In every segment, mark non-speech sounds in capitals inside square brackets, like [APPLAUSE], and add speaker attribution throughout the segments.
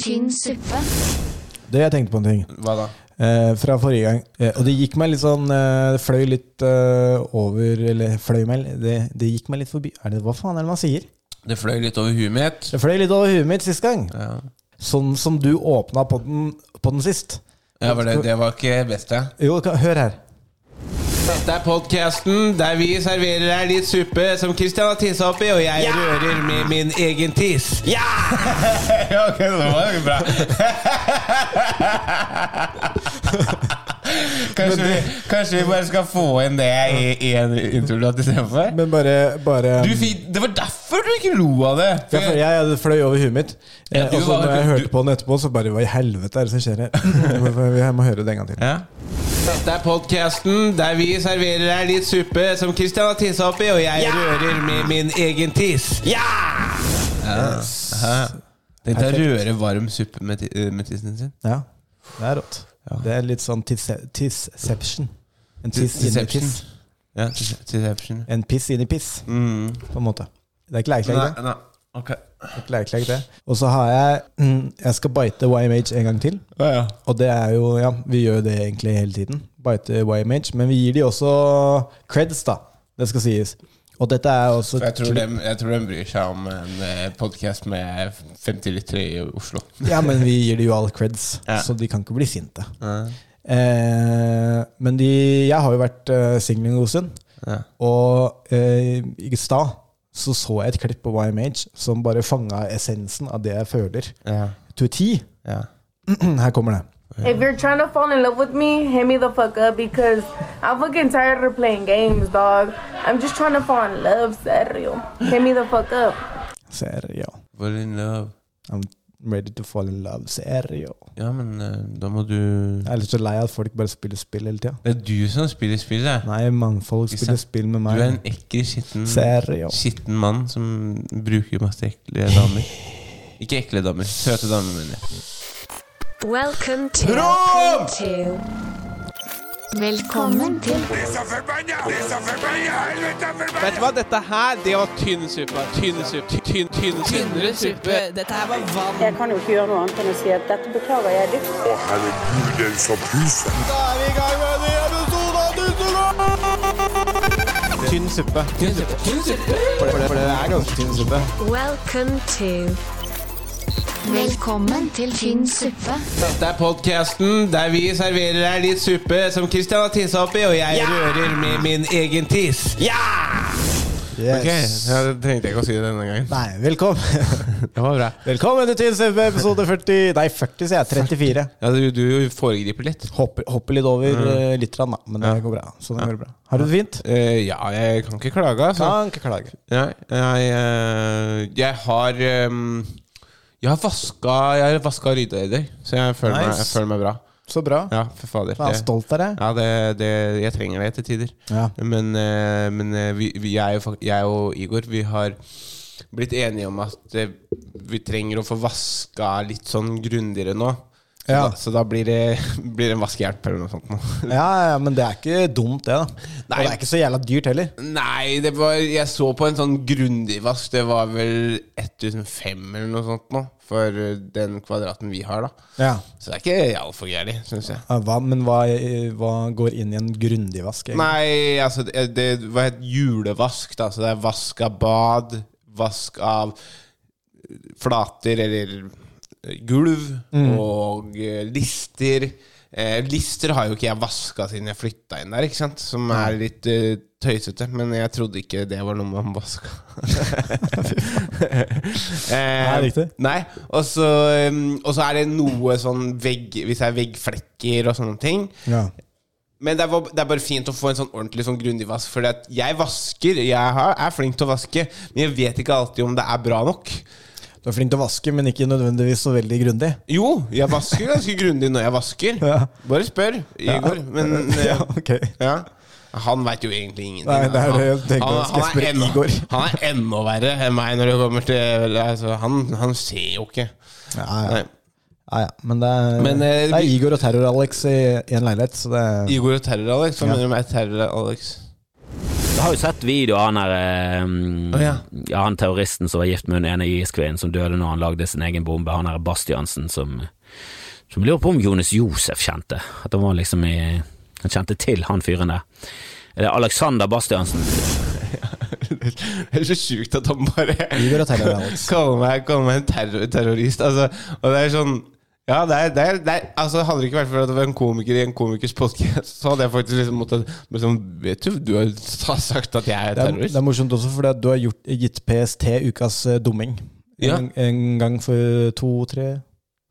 Speaker 1: tynn suppe.
Speaker 2: Du, jeg tenkte på en ting
Speaker 3: Hva da?
Speaker 2: eh, fra forrige gang. Eh, og det gikk meg litt sånn eh, Det fløy litt eh, over Eller fløy meg litt- det, det gikk meg litt forbi. Er det, hva faen er det man sier?
Speaker 3: Det fløy litt over huet mitt.
Speaker 2: Det fløy litt over huet mitt sist gang.
Speaker 3: Ja.
Speaker 2: Sånn som du åpna på den, på den sist.
Speaker 3: Ja, var det, det var ikke best, det.
Speaker 2: Jo, ka- hør her.
Speaker 3: Dette er podkasten der vi serverer deg litt suppe som Kristian har tissa oppi, og jeg rører med min egen tiss. Ja! [LAUGHS] ok, det var jo bra. Kanskje vi, kanskje vi bare skal få inn det i i en introlåt istedenfor?
Speaker 2: Men bare, bare
Speaker 3: Du fikk- Det var derfor du ikke lo av det!
Speaker 2: Ja, for jeg, jeg fløy over huet mitt. Eh,
Speaker 3: Ja,
Speaker 2: og
Speaker 3: du
Speaker 2: så
Speaker 3: var-
Speaker 2: når jeg
Speaker 3: du-
Speaker 2: hørte på den etterpå, så bare Hva i helvete er det som
Speaker 3: [LAUGHS]
Speaker 2: skjer her? Jeg må høre det en gang til.
Speaker 3: Ja. Dette er podkasten der vi serverer deg litt suppe som Kristian har tissa oppi, og jeg rører med min egen tiss. Ja! Aha. Dette er
Speaker 2: Perfekt.
Speaker 3: røre varm suppe med, ti- eh, med tissen sin.
Speaker 2: Ja, det er rått. Det er litt sånn tisse- tisseception. En tiss inni
Speaker 3: Tisseception.
Speaker 2: piss.
Speaker 3: Ja, tis- tisseception.
Speaker 2: En piss inni piss,
Speaker 3: Mm.
Speaker 2: på en måte. Det er ikke leirklegg,
Speaker 3: Nei,
Speaker 2: det.
Speaker 3: nei. Ok.
Speaker 2: Det er ikke leirklegg, det. Og så har jeg mm, Jeg skal bite YMH en gang til.
Speaker 3: Ja, ja.
Speaker 2: Og det er jo Ja, vi gjør jo det egentlig hele tiden. Bite YMH. Men vi gir de også creds, da. Det skal sies. Og dette er også
Speaker 3: For jeg tror, de, jeg tror de bryr seg om en podkast med 50 lyttere i Oslo.
Speaker 2: Ja, men vi gir de jo all creds,
Speaker 3: Ja.
Speaker 2: så de kan ikke bli sinte.
Speaker 3: Ja.
Speaker 2: Eh, men de Jeg har jo vært eh, singel en god stund.
Speaker 3: Ja.
Speaker 2: Og eh, i stad så så jeg et klipp på YMH som bare fanga essensen av det jeg føler.
Speaker 3: Ja.
Speaker 2: To ti. [CLEARS THROAT]
Speaker 3: Ja.
Speaker 2: Her kommer det.
Speaker 4: If you're trying to fall in love with me, hit me the fuck up because I'm fucking tired of playing games, dog. I'm just trying to fall in love, serio. Hit me the fuck up.
Speaker 2: Serio.
Speaker 3: Fall in love.
Speaker 2: I'm ready to fall in love. Serio.
Speaker 3: Ja, men eh, da må du
Speaker 2: Jeg er litt så lei av at folk bare spiller spill hele tida.
Speaker 3: Det er du som spiller spillet.
Speaker 2: Nei, mannfolk spiller spill med
Speaker 3: Du
Speaker 2: meg.
Speaker 3: er en ekkel, skitten,
Speaker 2: Serio.
Speaker 3: skitten mann som bruker masse ekle damer. Ikke ekle damer. Søte damer, mener jeg.
Speaker 1: Welcome to,
Speaker 3: Bra!
Speaker 1: to. Velkommen til
Speaker 3: Vet du hva, dette her, det var tynn suppe. Tynn suppe. Tynn, tynn, tynnere suppe.
Speaker 5: Dette her var vann.
Speaker 4: Jeg kan jo ikke gjøre noe annet enn å si at dette beklager jeg dypt.
Speaker 6: Å, herregud, den som puser.
Speaker 2: Da er vi i gang med en ny episode av Dusselov! Tynn suppe. Tynn suppe. For, det, for det er ganske tynn suppe.
Speaker 1: Welcome to. Velkommen til tynn suppe.
Speaker 3: Dette er podkasten der vi serverer deg litt suppe som Kristian har tissa oppi, og jeg rører med min egen tiss. Ja! Ok,
Speaker 2: Yes.
Speaker 3: ja, det trengte jeg ikke å si det denne gangen.
Speaker 2: Nei, velkommen. [LAUGHS]
Speaker 3: Det var bra.
Speaker 2: Velkommen til Tynn suppe, episode 40 Nei, 40 sier jeg. 34.
Speaker 3: Ja, du, du foregriper litt.
Speaker 2: Hopper, hopper litt over eh, litt, rann, da. Men det
Speaker 3: Mm. Ja.
Speaker 2: går bra. Så det går bra. Har du det fint?
Speaker 3: Eh, ja, jeg kan ikke klage. Altså.
Speaker 2: Kan ikke klage.
Speaker 3: Ja, jeg, eh, jeg har ehm, Jeg har vaska Jeg har vaska og rydda i dag, så jeg føler, meg, jeg
Speaker 2: Nice.
Speaker 3: føler meg bra.
Speaker 2: Så bra.
Speaker 3: Ja, for fader.
Speaker 2: Jeg er
Speaker 3: det-
Speaker 2: stolt av deg.
Speaker 3: Ja, det, det, jeg trenger det til tider.
Speaker 2: Ja.
Speaker 3: Men, eh, men eh, vi, vi, jeg, og fak- jeg og Igor Vi har blitt enige om at eh, vi trenger å få vaska litt sånn grundigere nå. Så,
Speaker 2: Ja.
Speaker 3: da, så da blir det, [LAUGHS] blir det en vaskehjelp eller noe sånt. Nå.
Speaker 2: Ja, ja, men det er ikke dumt, det. da Og
Speaker 3: Nei.
Speaker 2: det er ikke så jævla dyrt heller.
Speaker 3: Nei, det var, jeg så på en sånn grundig vask. Det var vel 1005 eller noe sånt nå, for eh, den kvadraten vi har, da.
Speaker 2: Ja.
Speaker 3: Så det er ikke altfor gærent, syns jeg.
Speaker 2: Ja, Hva, men hva, eh, hva går inn i en grundig vask? egentlig?
Speaker 3: Nei, altså det, det var et julevask, da. Så det er vask av bad, vask av eh, flater eller eh, gulv
Speaker 2: Mm.
Speaker 3: og eh, lister. Eh, lister har jo ikke jeg vaska siden jeg flytta inn der, ikke sant? som er litt eh, tøysete. Men jeg trodde ikke det var noe
Speaker 2: [LAUGHS]
Speaker 3: man vaska.
Speaker 2: Nei, riktig.
Speaker 3: Nei, og så, um, og så er det noe sånn vegg Hvis det er veggflekker og sånne ting.
Speaker 2: Ja.
Speaker 3: Men det er, bare- det er bare fint å få en sånn ordentlig sånn grundig vask. For jeg vasker, jeg har, er flink til å vaske, men jeg vet ikke alltid om det er bra nok.
Speaker 2: Du er flink til å vaske, men ikke nødvendigvis så veldig grundig.
Speaker 3: Jo, jeg vasker ganske grundig når jeg vasker.
Speaker 2: Ja.
Speaker 3: Bare spør Igor. Men eh,
Speaker 2: [LAUGHS] ja, ok.
Speaker 3: ja. Han veit jo egentlig ingenting.
Speaker 2: Nei, det er det jeg tenkte.
Speaker 3: Han,
Speaker 2: Skal jeg
Speaker 3: han, er
Speaker 2: spørre
Speaker 3: enda,
Speaker 2: Igor?
Speaker 3: han er enda verre enn meg når det kommer til altså, han, han ser jo ikke.
Speaker 2: Ja, ja.
Speaker 3: Nei.
Speaker 2: Ja, ja. Men, det er,
Speaker 3: Men, eh,
Speaker 2: det er
Speaker 3: vi-
Speaker 2: Igor og Terror-Alex i én leilighet, så det er
Speaker 3: Igor og Terror-Alex. Hva mener du med Terror-Alex?
Speaker 5: Du har jo sett video av han der eh,
Speaker 3: Å, ja.
Speaker 5: ja, Han terroristen som var gift med den ene iskvinnen som døde når han lagde sin egen bombe. Han der Bastiansen som Som lurer på om Jonis Josef kjente. At han var liksom i Han kjente til han fyren der. Er det Alexander Bastiansen?
Speaker 3: Det er så sjukt at han bare
Speaker 2: Iver og terror, Alex.
Speaker 3: kaller meg, kaller meg en terror, terrorist. Altså, og det er sånn ja, det er, det er, det er, altså Hadde det ikke vært for at det var en komiker i en komikers podkast, så hadde jeg faktisk liksom måttet men sånn, Vet du, du har sa- sagt at jeg er
Speaker 2: Det er, det
Speaker 3: terrorist.
Speaker 2: er morsomt også fordi at du har gjort, gitt PST ukas eh, dumming.
Speaker 3: Ja.
Speaker 2: En, en gang for to-tre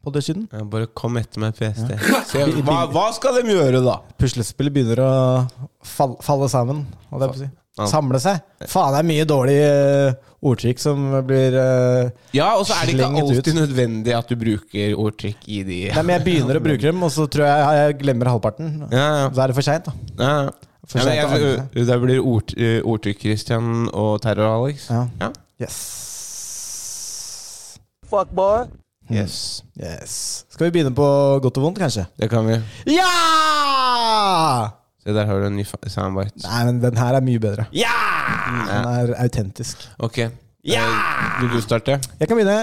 Speaker 2: podder siden.
Speaker 3: Ja, bare kom etter meg, PST. Så jeg, hva, hva skal de gjøre, da?
Speaker 2: Puslespillet begynner å fall, falle sammen. Holdt jeg på å si.
Speaker 3: Ja.
Speaker 2: Samle seg. Faen, det er mye dårlige eh, ordtrykk som blir eh,
Speaker 3: Ja, og så er det ikke
Speaker 2: Slenget ut.
Speaker 3: alltid nødvendig at du bruker ordtrykk i de
Speaker 2: Nei, men jeg begynner å bruke dem, og så tror jeg jeg glemmer halvparten.
Speaker 3: Ja, ja.
Speaker 2: Da er det for seint, da.
Speaker 3: Ja, ja.
Speaker 2: For sent
Speaker 3: ja, men
Speaker 2: å
Speaker 3: jeg,
Speaker 2: angre
Speaker 3: det blir ord, eh, ordtrykk Christian og Terror-Alex.
Speaker 2: Ja.
Speaker 3: Ja.
Speaker 2: Yes.
Speaker 3: Yes.
Speaker 2: yes. Skal vi begynne på godt og vondt, kanskje?
Speaker 3: Det kan vi.
Speaker 2: Ja!
Speaker 3: Se, der har du en ny fa- soundbite.
Speaker 2: Nei, men den her er mye bedre. Den er autentisk.
Speaker 3: Ok. Eh, Vil du starte?
Speaker 2: Jeg kan begynne.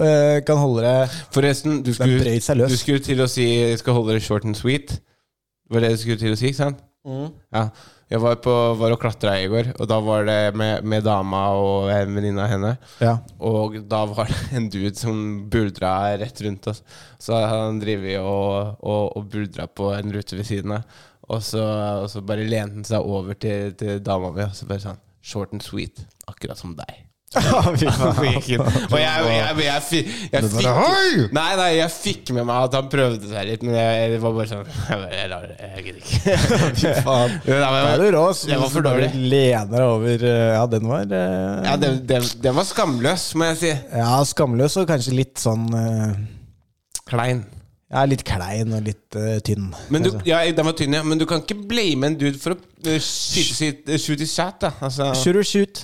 Speaker 2: Eh, kan holde det
Speaker 3: Forresten, du
Speaker 2: Den
Speaker 3: skulle,
Speaker 2: brøyt seg løs.
Speaker 3: du skulle til å si Jeg skal holde det short and sweet. Det var det du skulle til å si, ikke sant?
Speaker 2: Mm.
Speaker 3: Ja. Jeg var, på, var og klatra i går, og da var det med, med dama og en venninne av henne.
Speaker 2: Ja.
Speaker 3: Og da var det en dude som buldra rett rundt oss. Så han driver og, og, og buldra på en rute ved siden av. Og så, og så bare lente han seg over til, til dama mi, og så bare sånn Short and sweet. Akkurat som deg.
Speaker 2: [LAUGHS]
Speaker 3: [LAUGHS]
Speaker 2: Fy
Speaker 3: Og
Speaker 2: faen.
Speaker 3: jeg, jeg, jeg, jeg, fi- jeg fikk Nei, nei, jeg fikk med meg at han prøvde seg litt, men jeg, det var bare sånn [LAUGHS] Jeg, bare, jeg, lar det. jeg gidder ikke. Fy [LAUGHS] faen. Det,
Speaker 2: Da er
Speaker 3: var,
Speaker 2: du rå. ass.
Speaker 3: det var for
Speaker 2: Bare
Speaker 3: dårlig.
Speaker 2: Lener deg over eh, Ja, den var eh,
Speaker 3: Ja, den, den, den var skamløs, må jeg si.
Speaker 2: ja, skamløs og kanskje litt sånn eh,
Speaker 3: Klein.
Speaker 2: Ja, litt klein og litt eh, tynn.
Speaker 3: Men du,
Speaker 2: kanskje.
Speaker 3: ja, den var tynn, ja. Men du kan ikke blame en dude for å eh, skyte sitt eh, shoot his shot, da. Altså,
Speaker 2: Shoot or shoot.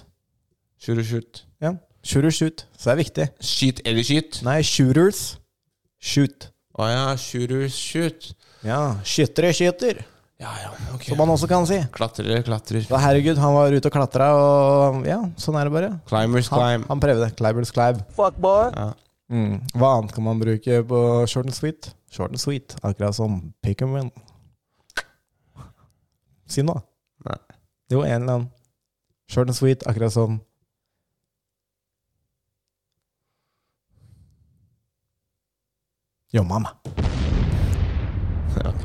Speaker 3: shoot or shoot.
Speaker 2: Ja. Shoot or shoot. Så det er viktig.
Speaker 3: Skyt eller skyt.
Speaker 2: Nei, shooters. Shoot.
Speaker 3: Å ja, shoot or shoot.
Speaker 2: Ja, skyttere skyter,
Speaker 3: Ja ja, ok.
Speaker 2: som man også kan si.
Speaker 3: Klatrer, klatrer.
Speaker 2: Da, herregud, han var ute og klatra, og ja, sånn er det bare.
Speaker 3: Climbers
Speaker 2: Han,
Speaker 3: climb.
Speaker 2: han prøvde. Clibers clib.
Speaker 3: Ja. [LAUGHS]
Speaker 2: Mm. Hva annet kan man bruke på short and sweet? Short and sweet, akkurat som pick and win. Si noe.
Speaker 3: Nei.
Speaker 2: Jo, en eller annen. Short and sweet, akkurat som Yo, mamma.
Speaker 3: Ok.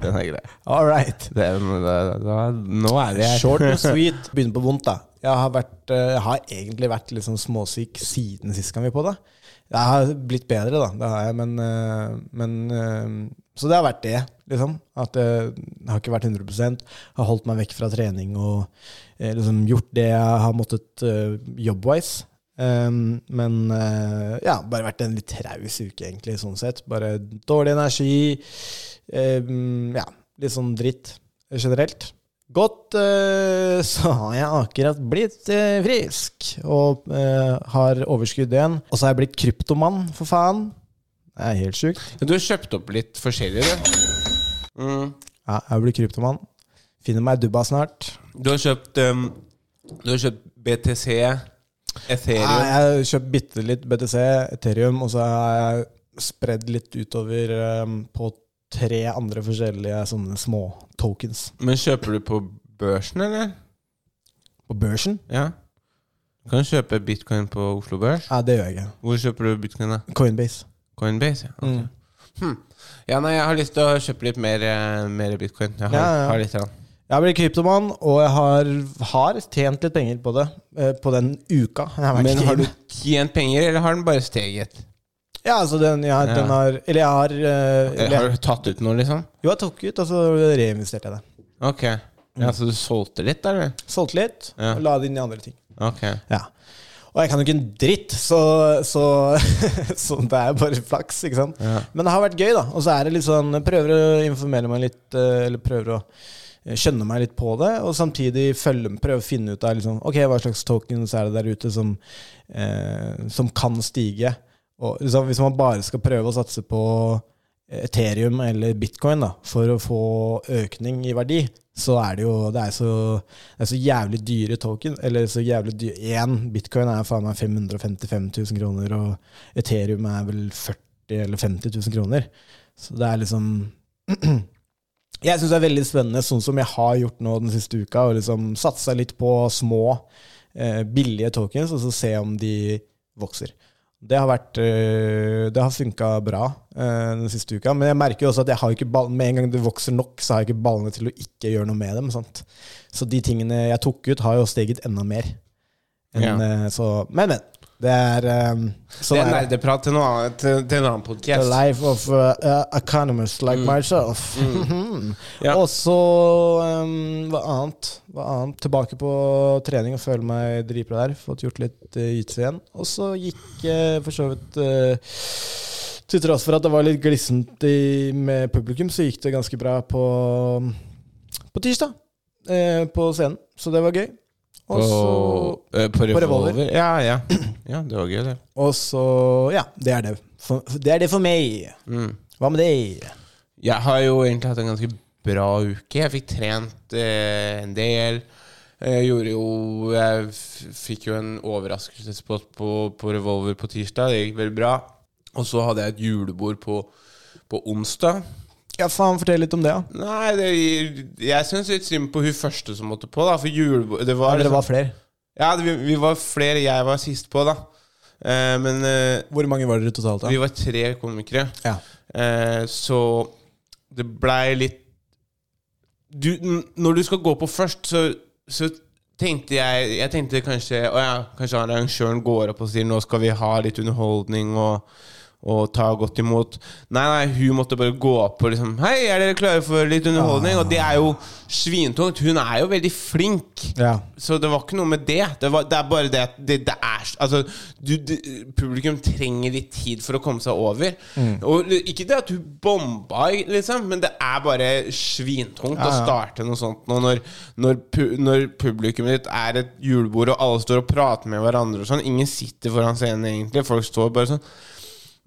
Speaker 3: Den er grei.
Speaker 2: All right.
Speaker 3: Det er- da- da- Nå er det jeg
Speaker 2: Short and
Speaker 3: [LAUGHS]
Speaker 2: sweet. Begynner på vondt, da. Jeg har, vært, eh, jeg har egentlig vært litt sånn småsyk siden sist gang vi på det. Jeg har blitt bedre, da. Det har jeg, men, eh, men eh, Så det har vært det, liksom. At eh, jeg har ikke vært 100 Har holdt meg vekk fra trening og eh, liksom gjort det jeg har måttet eh, jobbwise. Um, men eh, ja, bare vært en litt traus uke, egentlig, sånn sett. Bare dårlig energi. Um, ja, litt sånn dritt generelt. Godt, eh, [LAUGHS] så har jeg akkurat blitt eh, frisk og eh, har overskudd igjen. Og så har jeg blitt kryptomann, for faen. Det er helt sjukt.
Speaker 3: Du har kjøpt opp litt forskjellig, du. Mm.
Speaker 2: Ja, jeg blir kryptomann. Finner meg dubba snart.
Speaker 3: Du har kjøpt um, Du har kjøpt BTC,
Speaker 2: Nei,
Speaker 3: Ethereum
Speaker 2: jeg har kjøpt bitte litt BTC, Ethereum, og så har jeg spredd litt utover eh, på tre andre forskjellige sånne små tokens
Speaker 3: Men kjøper du på børsen, eller?
Speaker 2: på børsen.
Speaker 3: Ja. Du kan kjøpe bitcoin på Oslo Børs.
Speaker 2: Nei, det gjør jeg ikke.
Speaker 3: Hvor kjøper du bitcoin, da?
Speaker 2: Coinbase.
Speaker 3: Coinbase? Ja,
Speaker 2: Mm.
Speaker 3: ok. hm. ja nei, jeg har lyst til å kjøpe litt mer, eh, mer bitcoin. Jeg har,
Speaker 2: Ja, ja.
Speaker 3: har litt grann.
Speaker 2: Jeg blir kryptomann, og jeg har, har tjent litt penger på det eh, på den uka. Jeg har vært
Speaker 3: Men
Speaker 2: i
Speaker 3: har du
Speaker 2: gamet.
Speaker 3: tjent penger, eller har den bare steget?
Speaker 2: Ja, altså den, jeg,
Speaker 3: Ja.
Speaker 2: den har Eller jeg har, eh, eller,
Speaker 3: Har du tatt ut noe, liksom?
Speaker 2: Jo, jeg tok ut, og så reinvesterte jeg det.
Speaker 3: Ok.
Speaker 2: Mm.
Speaker 3: Ja, Så du solgte litt, eller?
Speaker 2: Solgte litt,
Speaker 3: Ja.
Speaker 2: og la det inn i andre ting.
Speaker 3: Ok.
Speaker 2: Ja. Og jeg kan jo ikke en dritt, så, så, [LAUGHS] så det er bare flaks, ikke sant.
Speaker 3: Ja.
Speaker 2: Men det har vært gøy, da. Og så er det litt sånn jeg Prøver å informere meg litt, eh, eller prøver å eh, skjønne meg litt på det, og samtidig følge, prøve å finne ut av liksom, ok, hva slags tokens er det der ute som, eh, som kan stige. Og, liksom, hvis man bare skal prøve å satse på Ethereum eller bitcoin da, for å få økning i verdi, så er det jo det er så, det er så jævlig dyre token. Eller så jævlig dyre Én bitcoin er faen meg 555 000 kroner, og Ethereum er vel 40 000 eller 50 000 kroner. Så det er liksom [CLEARS THROAT] Jeg syns det er veldig spennende, sånn som jeg har gjort nå den siste uka, og liksom satsa litt på små, eh, billige tokens, og så se om de vokser. Det har, vært, eh, det har funka bra eh, den siste uka, men jeg merker jo også at jeg har ikke ball, med en gang det vokser nok, så har jeg ikke ballene til å ikke gjøre noe med dem. Sant? Så de tingene jeg tok ut, har jo steget enda mer. Enn,
Speaker 3: Ja.
Speaker 2: eh, så, men, men. Det er eh, sånn
Speaker 3: det er
Speaker 2: er det.
Speaker 3: nerdeprat til, noe annet- til, til en annen
Speaker 2: The
Speaker 3: podkast.
Speaker 2: life of uh, uh, economists like myself.
Speaker 3: Mm.
Speaker 2: [LAUGHS] Mhm.
Speaker 3: Ja.
Speaker 2: Og så um, hva annet? Hva annet? Tilbake på trening og føle meg dritbra der. Fått gjort litt uh, jiu-jitsu igjen. Og så gikk eh, for så vidt eh, Til tross for at det var litt glissent i, med publikum, så gikk det ganske bra på, um, på tirsdag. eh, på scenen. Så det var gøy. Og så
Speaker 3: På- eh, på revolver.
Speaker 2: revolver.
Speaker 3: Ja, ja. ja, det var gøy, det.
Speaker 2: Og så Ja, det er det. For, det er det for meg.
Speaker 3: Mm.
Speaker 2: Hva med deg?
Speaker 3: Jeg har jo egentlig hatt en ganske bra uke. Jeg fikk trent eh, en del. Jeg gjorde jo Jeg f- fikk jo en overraskelsespott på, på Revolver på tirsdag. Det gikk veldig bra. Og så hadde jeg et julebord på, på onsdag.
Speaker 2: Ja, faen, fortell litt om det, da.
Speaker 3: Nei, det, jeg syns litt synd på hun første som måtte på, da. For julebord Det
Speaker 2: Ja,
Speaker 3: var,
Speaker 2: dere
Speaker 3: liksom-
Speaker 2: var flere.
Speaker 3: Ja, det, vi, vi var flere. Jeg var sist på, da. Eh, men eh,
Speaker 2: Hvor mange var dere totalt,
Speaker 3: vi var tre komikere.
Speaker 2: Ja.
Speaker 3: Eh, så det blei litt du, n- Når du skal gå på først, så, så tenkte jeg Jeg tenkte kanskje å ja, kanskje arrangøren går opp og sier nå skal vi ha litt underholdning og, og ta godt imot. Nei, nei, hun måtte bare gå opp og liksom Hei, er dere klare for litt underholdning? Og det er jo svintungt. Hun er jo veldig flink.
Speaker 2: Ja.
Speaker 3: Så det var ikke noe med det. Det, var, det er bare det at det, det er s- Altså, du, du, publikum trenger litt tid for å komme seg over. Og ikke det at hun bomba, liksom, men det er bare svintungt å starte noe sånt nå når, når, pu- når publikummet ditt er et julebord, og alle står og prater med hverandre og sånn. Ingen sitter foran scenen, egentlig. Folk står bare sånn.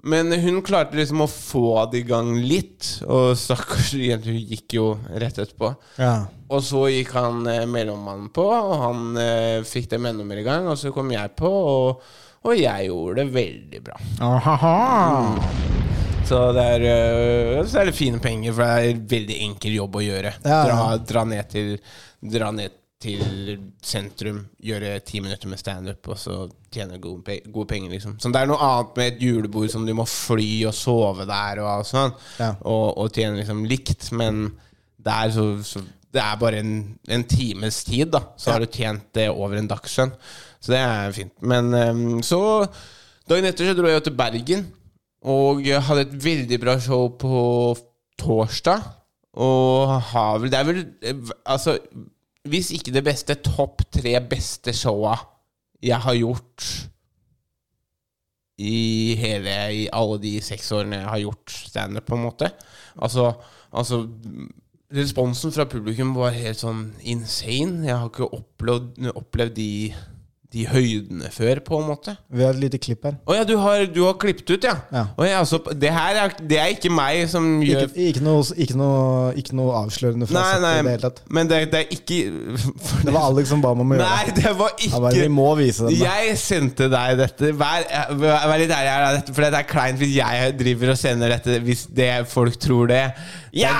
Speaker 3: Men hun klarte liksom å få det i gang litt, og stakkars [LAUGHS] jente, hun gikk jo rett etterpå.
Speaker 2: ja.
Speaker 3: Og så gikk han eh, mellommannen på, og han eh, fikk dem enda mer i gang. Og så kom jeg på, og, og jeg gjorde det veldig bra. Så det er, eh, så er det fine penger, for det er en veldig enkel jobb å gjøre.
Speaker 2: Ja,
Speaker 3: Dra,
Speaker 2: ja.
Speaker 3: dra, ned til, dra ned til sentrum, gjøre ti minutter med standup, og så tjene gode, pe gode penger, liksom. Så det er noe annet med et julebord som du må fly og sove der og sånn,
Speaker 2: Ja.
Speaker 3: og, og tjene liksom likt, men det er så, så det er bare en, en times tid, da. Så har du tjent det over en dagslønn. Så det er fint. Men eh, så Dagen etter så dro jeg jo til Bergen. Og jeg hadde et veldig bra show på torsdag. Og har vel Det er vel eh, Altså, hvis ikke det beste, topp tre beste showa jeg har gjort i hele I alle de seks årene jeg har gjort standup, på en måte. Altså, altså Responsen fra publikum var helt sånn insane. Jeg har ikke opplevd, opplevd de, de høydene før, på en måte.
Speaker 2: Vi har et lite klipp her.
Speaker 3: Å ja, du har, du har klippet ut, ja.
Speaker 2: Ja.
Speaker 3: Å ja, så det her er, det er ikke meg som gjør
Speaker 2: Ikke, ikke, noe, ikke, noe, ikke noe avslørende fra
Speaker 3: Nei,
Speaker 2: settet i det
Speaker 3: nei,
Speaker 2: hele tatt.
Speaker 3: men det, det er ikke for-
Speaker 2: [LAUGHS] Det var Alex som ba meg om å gjøre det.
Speaker 3: Nei, det var
Speaker 2: Han bare, vi
Speaker 3: ikke
Speaker 2: må vise den. da.
Speaker 3: Jeg sendte deg dette. Vær, vær vær litt ærlig her, da, dette- for det er kleint hvis jeg driver og sender dette, hvis det folk tror det. Ja!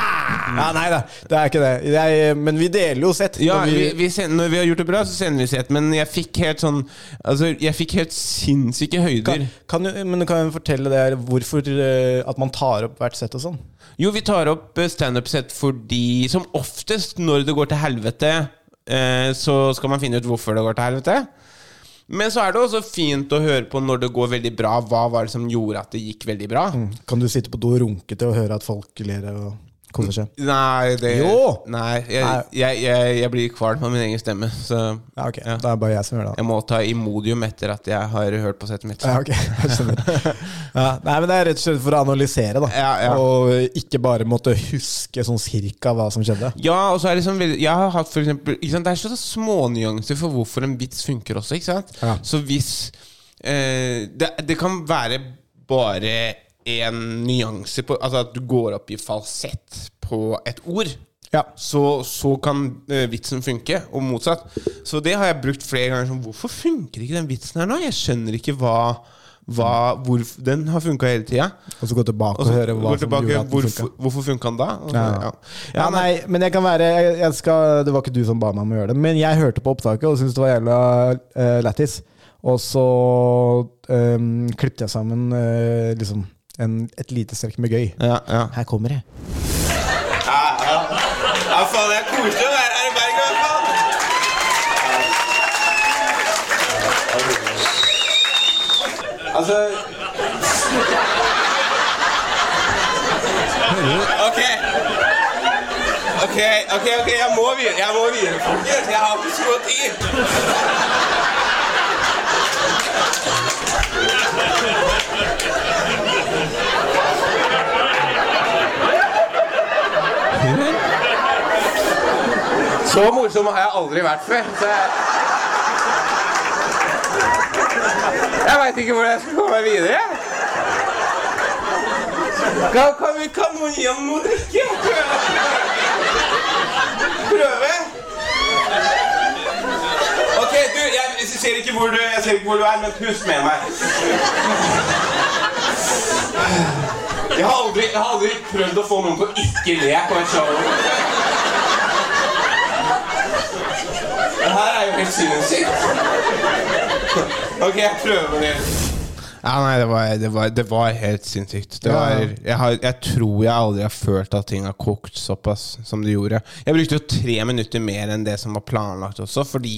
Speaker 2: Ja, nei da, det er ikke det. Jeg, men vi deler jo sett.
Speaker 3: Ja,
Speaker 2: og
Speaker 3: vi,
Speaker 2: vi,
Speaker 3: vi sender, Når vi har gjort det bra, så sender vi sett, men jeg fikk helt sånn Altså, jeg fikk helt sinnssyke høyder.
Speaker 2: kan, kan, du- men du kan jo fortelle det her, hvorfor eh, at man tar opp hvert sett og sånn?
Speaker 3: Jo, vi tar opp eh, standup-sett fordi Som oftest når det går til helvete, eh, så skal man finne ut hvorfor det går til helvete. Men så er det også fint å høre på når det går veldig bra. Hva var det som gjorde at det gikk veldig bra?
Speaker 2: Kan du sitte på do og runke til å høre at folk ler og koser seg?
Speaker 3: Nei, det
Speaker 2: Jo!
Speaker 3: Nei,
Speaker 2: Nei.
Speaker 3: jeg, jeg, jeg, jeg blir kvalm av min egen stemme, så
Speaker 2: Ja, ok.
Speaker 3: Ja.
Speaker 2: Det er bare jeg som gjør det. da.
Speaker 3: jeg må ta Imodium etter at jeg har hørt på settet mitt.
Speaker 2: Ja, ok, [LAUGHS] jeg skjønner ja, Nei, men Det er rett og slett for å analysere, da.
Speaker 3: Ja, ja.
Speaker 2: Og ikke bare måtte huske sånn cirka hva som skjedde.
Speaker 3: Ja, og så er det sånn veldig Jeg har hatt for eksempel ikke sant, Det er sånne smånyanser for hvorfor en vits funker også, ikke sant?
Speaker 2: Ja.
Speaker 3: Så hvis eh, det, det kan være bare en nyanse på Altså at du går opp i falsett på et ord,
Speaker 2: Ja.
Speaker 3: så, så kan eh, vitsen funke, og motsatt. Så det har jeg brukt flere ganger. Sånn, hvorfor funker ikke den vitsen her nå? Jeg skjønner ikke hva, hva hvor, Den har funka hele tida.
Speaker 2: Og så gå tilbake og,
Speaker 3: Og så
Speaker 2: høre hva
Speaker 3: går
Speaker 2: som
Speaker 3: tilbake,
Speaker 2: gjorde at den
Speaker 3: hvorfor,
Speaker 2: funka.
Speaker 3: hvorfor funka den da? Og så,
Speaker 2: Ja.
Speaker 3: ja.
Speaker 2: Ja, nei, men jeg kan være jeg, jeg skal, Det var ikke du som ba meg om å gjøre det, men jeg hørte på opptaket og syntes det var jævla uh, lættis. Og så um, klippet jeg sammen eh, liksom en, et lite strekk med gøy.
Speaker 3: Ja, ja.
Speaker 2: Her kommer jeg.
Speaker 3: Ja, faen, det er koselig å være her i Bergen, i hvert fall. Altså Ok. Ok, ok, ok, jeg må hvile. Jeg må hvile, folkens. Jeg har ikke så god tid. Så morsom har jeg aldri vært før. Så jeg jeg veit ikke hvordan jeg skal komme meg videre. Kan, kan, vi, kan noen gi ham noe å drikke? Prøve? Ok, du, jeg, jeg, ser ikke hvor du, jeg ser ikke hvor du er, men pust med meg. Jeg har aldri, jeg har aldri prøvd å få noen til å ikke le på et show. Det her er jo helt sinnssykt. Ok, jeg prøver det. Ja, nei, det var, det var, det var helt sinnssykt. Det
Speaker 2: Ja,
Speaker 3: var,
Speaker 2: ja.
Speaker 3: jeg, har, jeg tror jeg aldri har følt at ting har kokt såpass som det gjorde. Jeg brukte jo tre minutter mer enn det som var planlagt også, fordi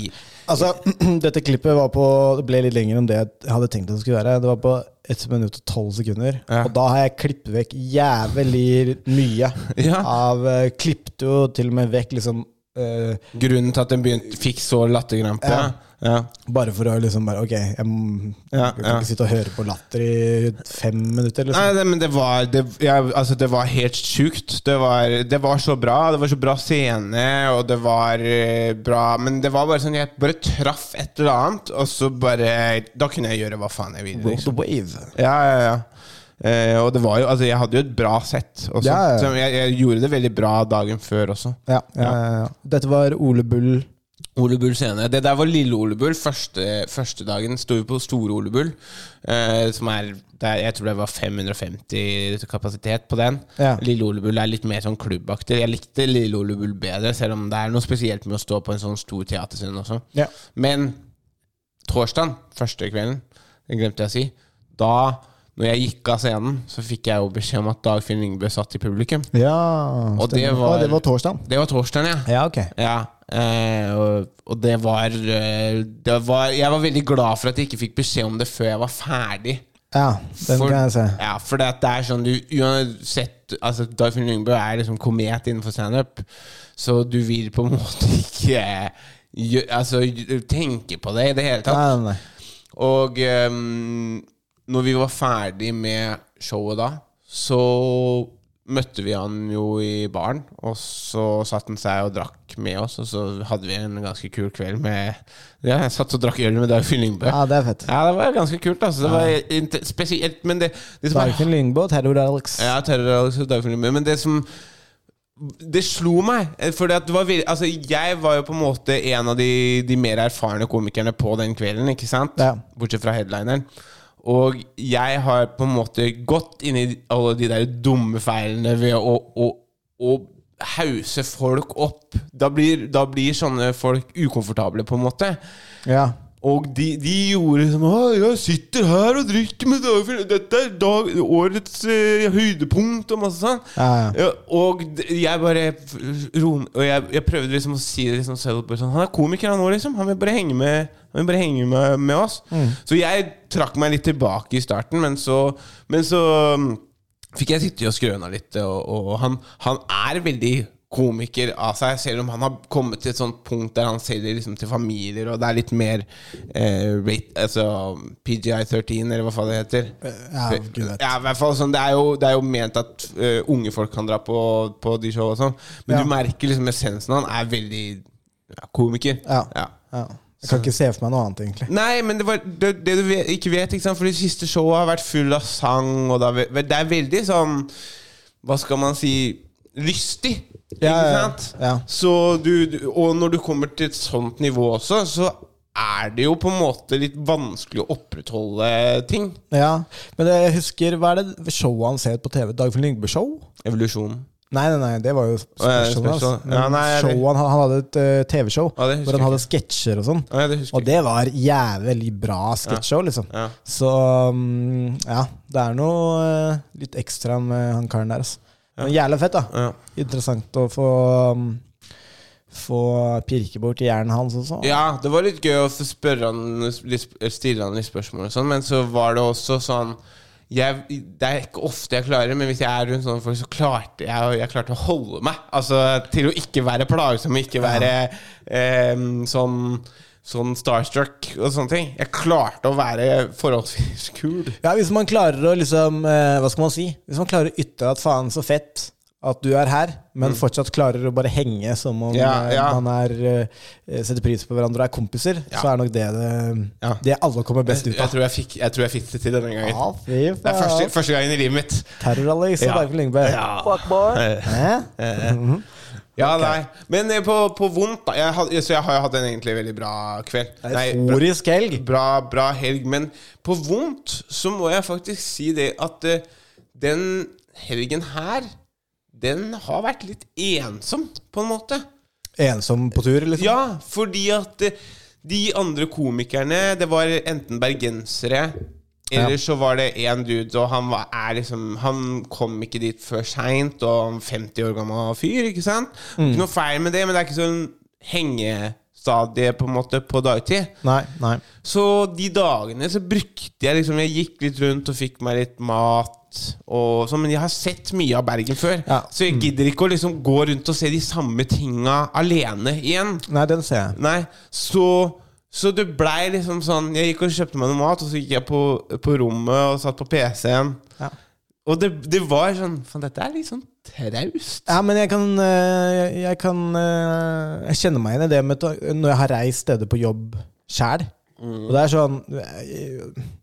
Speaker 2: Altså, [CLEARS THROAT] dette klippet var på, det ble litt lenger enn det jeg hadde tenkt det skulle være. Det var på 1 minutt og 12 sekunder.
Speaker 3: Ja.
Speaker 2: Og da har jeg klippet vekk jævlig mye.
Speaker 3: [LAUGHS] Ja.
Speaker 2: Av, eh, klippet jo til og med vekk liksom eh,
Speaker 3: grunnen til at den begynte, fikk så latterkrampe
Speaker 2: Ja.
Speaker 3: ja.
Speaker 2: Bare for å liksom bare Ok, jeg, m-
Speaker 3: Ja,
Speaker 2: jeg kan
Speaker 3: ja.
Speaker 2: ikke sitte og høre på latter i fem minutter.
Speaker 3: Nei,
Speaker 2: Liksom.
Speaker 3: det, men det var, det, jeg, altså, det var helt sjukt. Det var, det var så bra. Det var så bra scene, og det var eh, bra Men det var bare sånn jeg bare traff et eller annet, og så bare Da kunne jeg gjøre hva faen jeg ville. Liksom.
Speaker 2: the wave.
Speaker 3: Ja, ja, ja. Eh, og det var jo Altså, jeg hadde jo et bra sett også.
Speaker 2: Ja, ja.
Speaker 3: Så jeg, jeg gjorde det veldig bra dagen før også.
Speaker 2: Ja, ja, ja, ja. Dette var Ole Bull.
Speaker 3: Ole Bull scene. Det der var Lille Ole Bull. Første, første dagen sto vi på Store Ole Bull, eh, som er der, Jeg tror det var 550 kapasitet på den.
Speaker 2: Ja.
Speaker 3: Lille Ole Bull er litt mer sånn klubbaktig. Jeg likte Lille Ole Bull bedre, selv om det er noe spesielt med å stå på en sånn stor teaterscene også.
Speaker 2: Ja.
Speaker 3: Men torsdagen, første kvelden, det glemte jeg å si, da når jeg gikk av scenen, så fikk jeg jo beskjed om at Dagfinn Ingebø satt i publikum.
Speaker 2: ja
Speaker 3: Og det
Speaker 2: stemmer.
Speaker 3: var-
Speaker 2: Å, det var torsdagen.
Speaker 3: Det var torsdagen, ja.
Speaker 2: Ja, ok.
Speaker 3: Ja, eh, og, og det var eh, Det var Jeg var veldig glad for at jeg ikke fikk beskjed om det før jeg var ferdig.
Speaker 2: Ja, den
Speaker 3: For-
Speaker 2: kan jeg se.
Speaker 3: Ja, for det, at det er sånn du uansett Altså Dagfinn Lyngbø er liksom komet innenfor standup, så du vil på en måte ikke gjø- altså, tenke på det i det hele tatt.
Speaker 2: Nei, nei, nei.
Speaker 3: Og um, når vi var ferdig med showet da, så møtte vi han jo i baren. Og så satt han seg og drakk med oss, og så hadde vi en ganske kul kveld med Ja, jeg satt og drakk øl med Dagfinn Lyngbø.
Speaker 2: Ja, det er fett.
Speaker 3: Ja, det var ganske kult, altså. Det var inte- spesielt, men det, det som er
Speaker 2: Dagfinn Lyngbå, Terror Alex.
Speaker 3: ja, terroranalyse og dagfilm. Men det som Det slo meg. For det var, vir- altså, jeg var jo på en måte en av de, de mer erfarne komikerne på den kvelden, ikke sant?
Speaker 2: Ja.
Speaker 3: Bortsett fra headlineren. Og jeg har på en måte gått inn i alle de der dumme feilene ved å, å, å hause folk opp. Da blir, da blir sånne folk ukomfortable, på en måte.
Speaker 2: Ja.
Speaker 3: Og de, de gjorde som «Å, Jeg sitter her og drikker med Dagfinn. Dette er dag, årets eh, høydepunkt og masse sånn.
Speaker 2: Ja, ja.
Speaker 3: og d- jeg bare f- ro- Og jeg, jeg prøvde liksom å si det liksom selv, bare sånn, Han er komiker han nå, liksom. Han vil bare henge med, han vil bare henge med, med oss.
Speaker 2: Mm.
Speaker 3: Så jeg trakk meg litt tilbake i starten, men så, men så mm, fikk jeg sitte og skrøna litt. Og, og han, han er veldig komiker av seg, selv om han har kommet til et sånt punkt der han selger liksom til familier, og det er litt mer eh, rate, altså PGI13, eller hva faen det heter.
Speaker 2: ja, gud vet.
Speaker 3: Ja, i hvert fall sånn, det, er jo, det er jo ment at eh, unge folk kan dra på, på de show og sånn, men
Speaker 2: Ja.
Speaker 3: du merker liksom essensen av han er veldig ja, komiker.
Speaker 2: Ja. Ja. Jeg kan ikke se for meg noe annet, egentlig.
Speaker 3: Nei, men det, var, det, det du vet, ikke vet, ikke sant? for det siste showet har vært full av sang, og det er, ve- det er veldig sånn Hva skal man si Lystig.
Speaker 2: Ja,
Speaker 3: ikke
Speaker 2: ja,
Speaker 3: sant?
Speaker 2: ja.
Speaker 3: Så du, du- og når du kommer til et sånt nivå også, så er det jo på en måte litt vanskelig å opprettholde ting.
Speaker 2: Ja, Men jeg husker, hva er det showet han ser på TV? Dagfinn Lyngbø-show?
Speaker 3: Evolusjonen.
Speaker 2: Nei, nei, nei, det var jo
Speaker 3: ja, det er
Speaker 2: special. Altså.
Speaker 3: special. Ja, nei, jeg-
Speaker 2: Showet han, han hadde et eh, TV-show
Speaker 3: Ja, det husker
Speaker 2: hvor han
Speaker 3: jeg
Speaker 2: hadde sketsjer og sånn.
Speaker 3: Ja, det husker
Speaker 2: Og det var jævlig bra sketsjshow, liksom.
Speaker 3: Ja.
Speaker 2: Så mm, ja, det er noe eh, litt ekstra med han karen der. Altså. Men jævlig fett, da.
Speaker 3: Ja.
Speaker 2: Interessant å få mm, Få pirke bort hjernen hans sånn. også.
Speaker 3: Ja, det var litt gøy å få spørre han litt, stille han litt spørsmål og sånn, men så var det også sånn jeg, Det er ikke ofte jeg klarer, men hvis jeg er rundt sånne folk, så klarte jeg, jeg klarte å holde meg. Altså til å ikke være plagsom, ikke være em, sånn Sånn starstruck og sånne ting. Jeg klarte å være forholdsvis kul.
Speaker 2: Ja, hvis man klarer å liksom eh, Hva skal man si? Hvis man klarer å ytre at faen så fett at du er her, men fortsatt klarer å bare henge som om
Speaker 3: Mm. Ja,
Speaker 2: eh,
Speaker 3: ja.
Speaker 2: man er, eh, setter pris på hverandre og er kompiser, så er nok det det,
Speaker 3: Ja.
Speaker 2: det alle kommer best ut
Speaker 3: Jeg
Speaker 2: av.
Speaker 3: tror jeg fikk, jeg tror jeg fikk det til denne gangen.
Speaker 2: Ja, fy
Speaker 3: Det er første,
Speaker 2: faen.
Speaker 3: første gangen i livet mitt. Eh,
Speaker 2: Terror-Alex og
Speaker 3: Ja.
Speaker 2: Dagfinn Lyngberg. Hæ?
Speaker 3: Ja, nei. Men eh, på, på vondt, da. Jeg had, så jeg har jo hatt en egentlig veldig bra kveld. Nei, bra-
Speaker 2: Euforisk helg.
Speaker 3: bra, bra helg, men på vondt så må jeg faktisk si det at eh, den helgen her, den har vært litt ensom, på en måte.
Speaker 2: Ensom på tur, liksom.
Speaker 3: Ja, fordi at eh, de andre komikerne, det var enten bergensere eller
Speaker 2: Ja.
Speaker 3: så var det én dude, og han, var, er liksom, han kom ikke dit før seint. Og han 50 år gammel fyr, ikke sant?
Speaker 2: Mm.
Speaker 3: Ikke noe feil med det, men det er ikke sånn hengestadie på en måte på dagtid.
Speaker 2: Nei, nei.
Speaker 3: Så de dagene så brukte jeg liksom Jeg gikk litt rundt og fikk meg litt mat og sånn, men jeg har sett mye av Bergen før.
Speaker 2: Ja. Mm.
Speaker 3: Så jeg gidder ikke å liksom gå rundt og se de samme tinga alene igjen.
Speaker 2: Nei, den ser jeg.
Speaker 3: Nei, så så det blei liksom sånn Jeg gikk og kjøpte meg noe mat, og så gikk jeg på, på rommet og satt på PC-en.
Speaker 2: Ja.
Speaker 3: Og det, det var sånn Faen, dette er litt sånn traust.
Speaker 2: Ja, men jeg kan, eh, jeg kan eh, Jeg kjenner meg igjen i det med ta- når jeg har reist steder på jobb sjæl. Og det er sånn eh,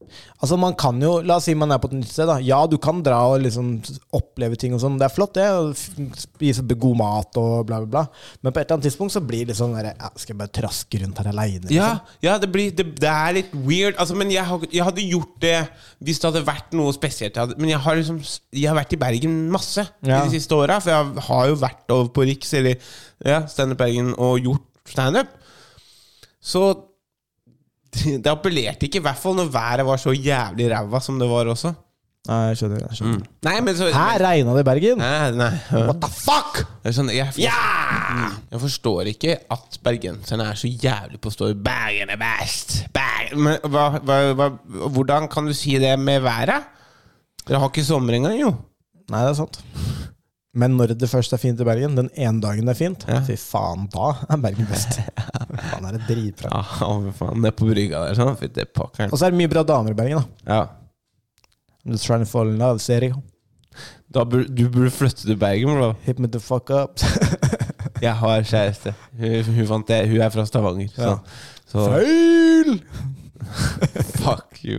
Speaker 2: Altså, man kan jo La oss si man er på et nytt sted, da. Ja, du kan dra og liksom oppleve ting og sånn. Det er flott, det. Og f- spise god mat og bla, bla, bla. Men på et eller annet tidspunkt så blir det sånn derre ja, Skal jeg bare traske rundt her liksom? aleine?
Speaker 3: Ja, ja det, blir, det, det er litt weird. Altså, men jeg, har, jeg hadde gjort det hvis det hadde vært noe spesielt. Jeg hadde, men jeg har, liksom, jeg har vært i Bergen masse
Speaker 2: Ja.
Speaker 3: i de siste åra. For jeg har jo vært over på Riks eller ja, Standup Bergen og gjort standup. Så det appellerte ikke, i hvert fall når været var så jævlig ræva som det var også.
Speaker 2: Nei, jeg skjønner. Jeg skjønner.
Speaker 3: Nei, men så
Speaker 2: Her regna det i Bergen!
Speaker 3: Nei, Eh, nei.
Speaker 2: What the fuck?!
Speaker 3: Det er sånn, jeg, Mm. jeg forstår ikke at bergenserne er så jævlig på å stå i 'Bergen er best'. Bergen. Men hva, hva, hva, hvordan kan du si det med været? Dere har ikke sommer engang, jo.
Speaker 2: Nei, det er sant. Men når det først er fint i Bergen, den ene dagen det er fint, fy faen, da er Bergen [LAUGHS] best. faen, er det dritbra.
Speaker 3: Ja, men faen, ned på brygga der, sånn. Fytti
Speaker 2: Og
Speaker 3: pokkeren.
Speaker 2: så er det mye bra damer i Bergen, da.
Speaker 3: Ja.
Speaker 2: I'm just trying to fall in love, Seri.
Speaker 3: Da bur, du burde flytte til Bergen, bro.
Speaker 2: Hit me the fuck up.
Speaker 3: Jeg har kjæreste. Hun, hun, fant det. hun er fra Stavanger. Så,
Speaker 2: Ja.
Speaker 3: så
Speaker 2: Feil!
Speaker 3: fuck you.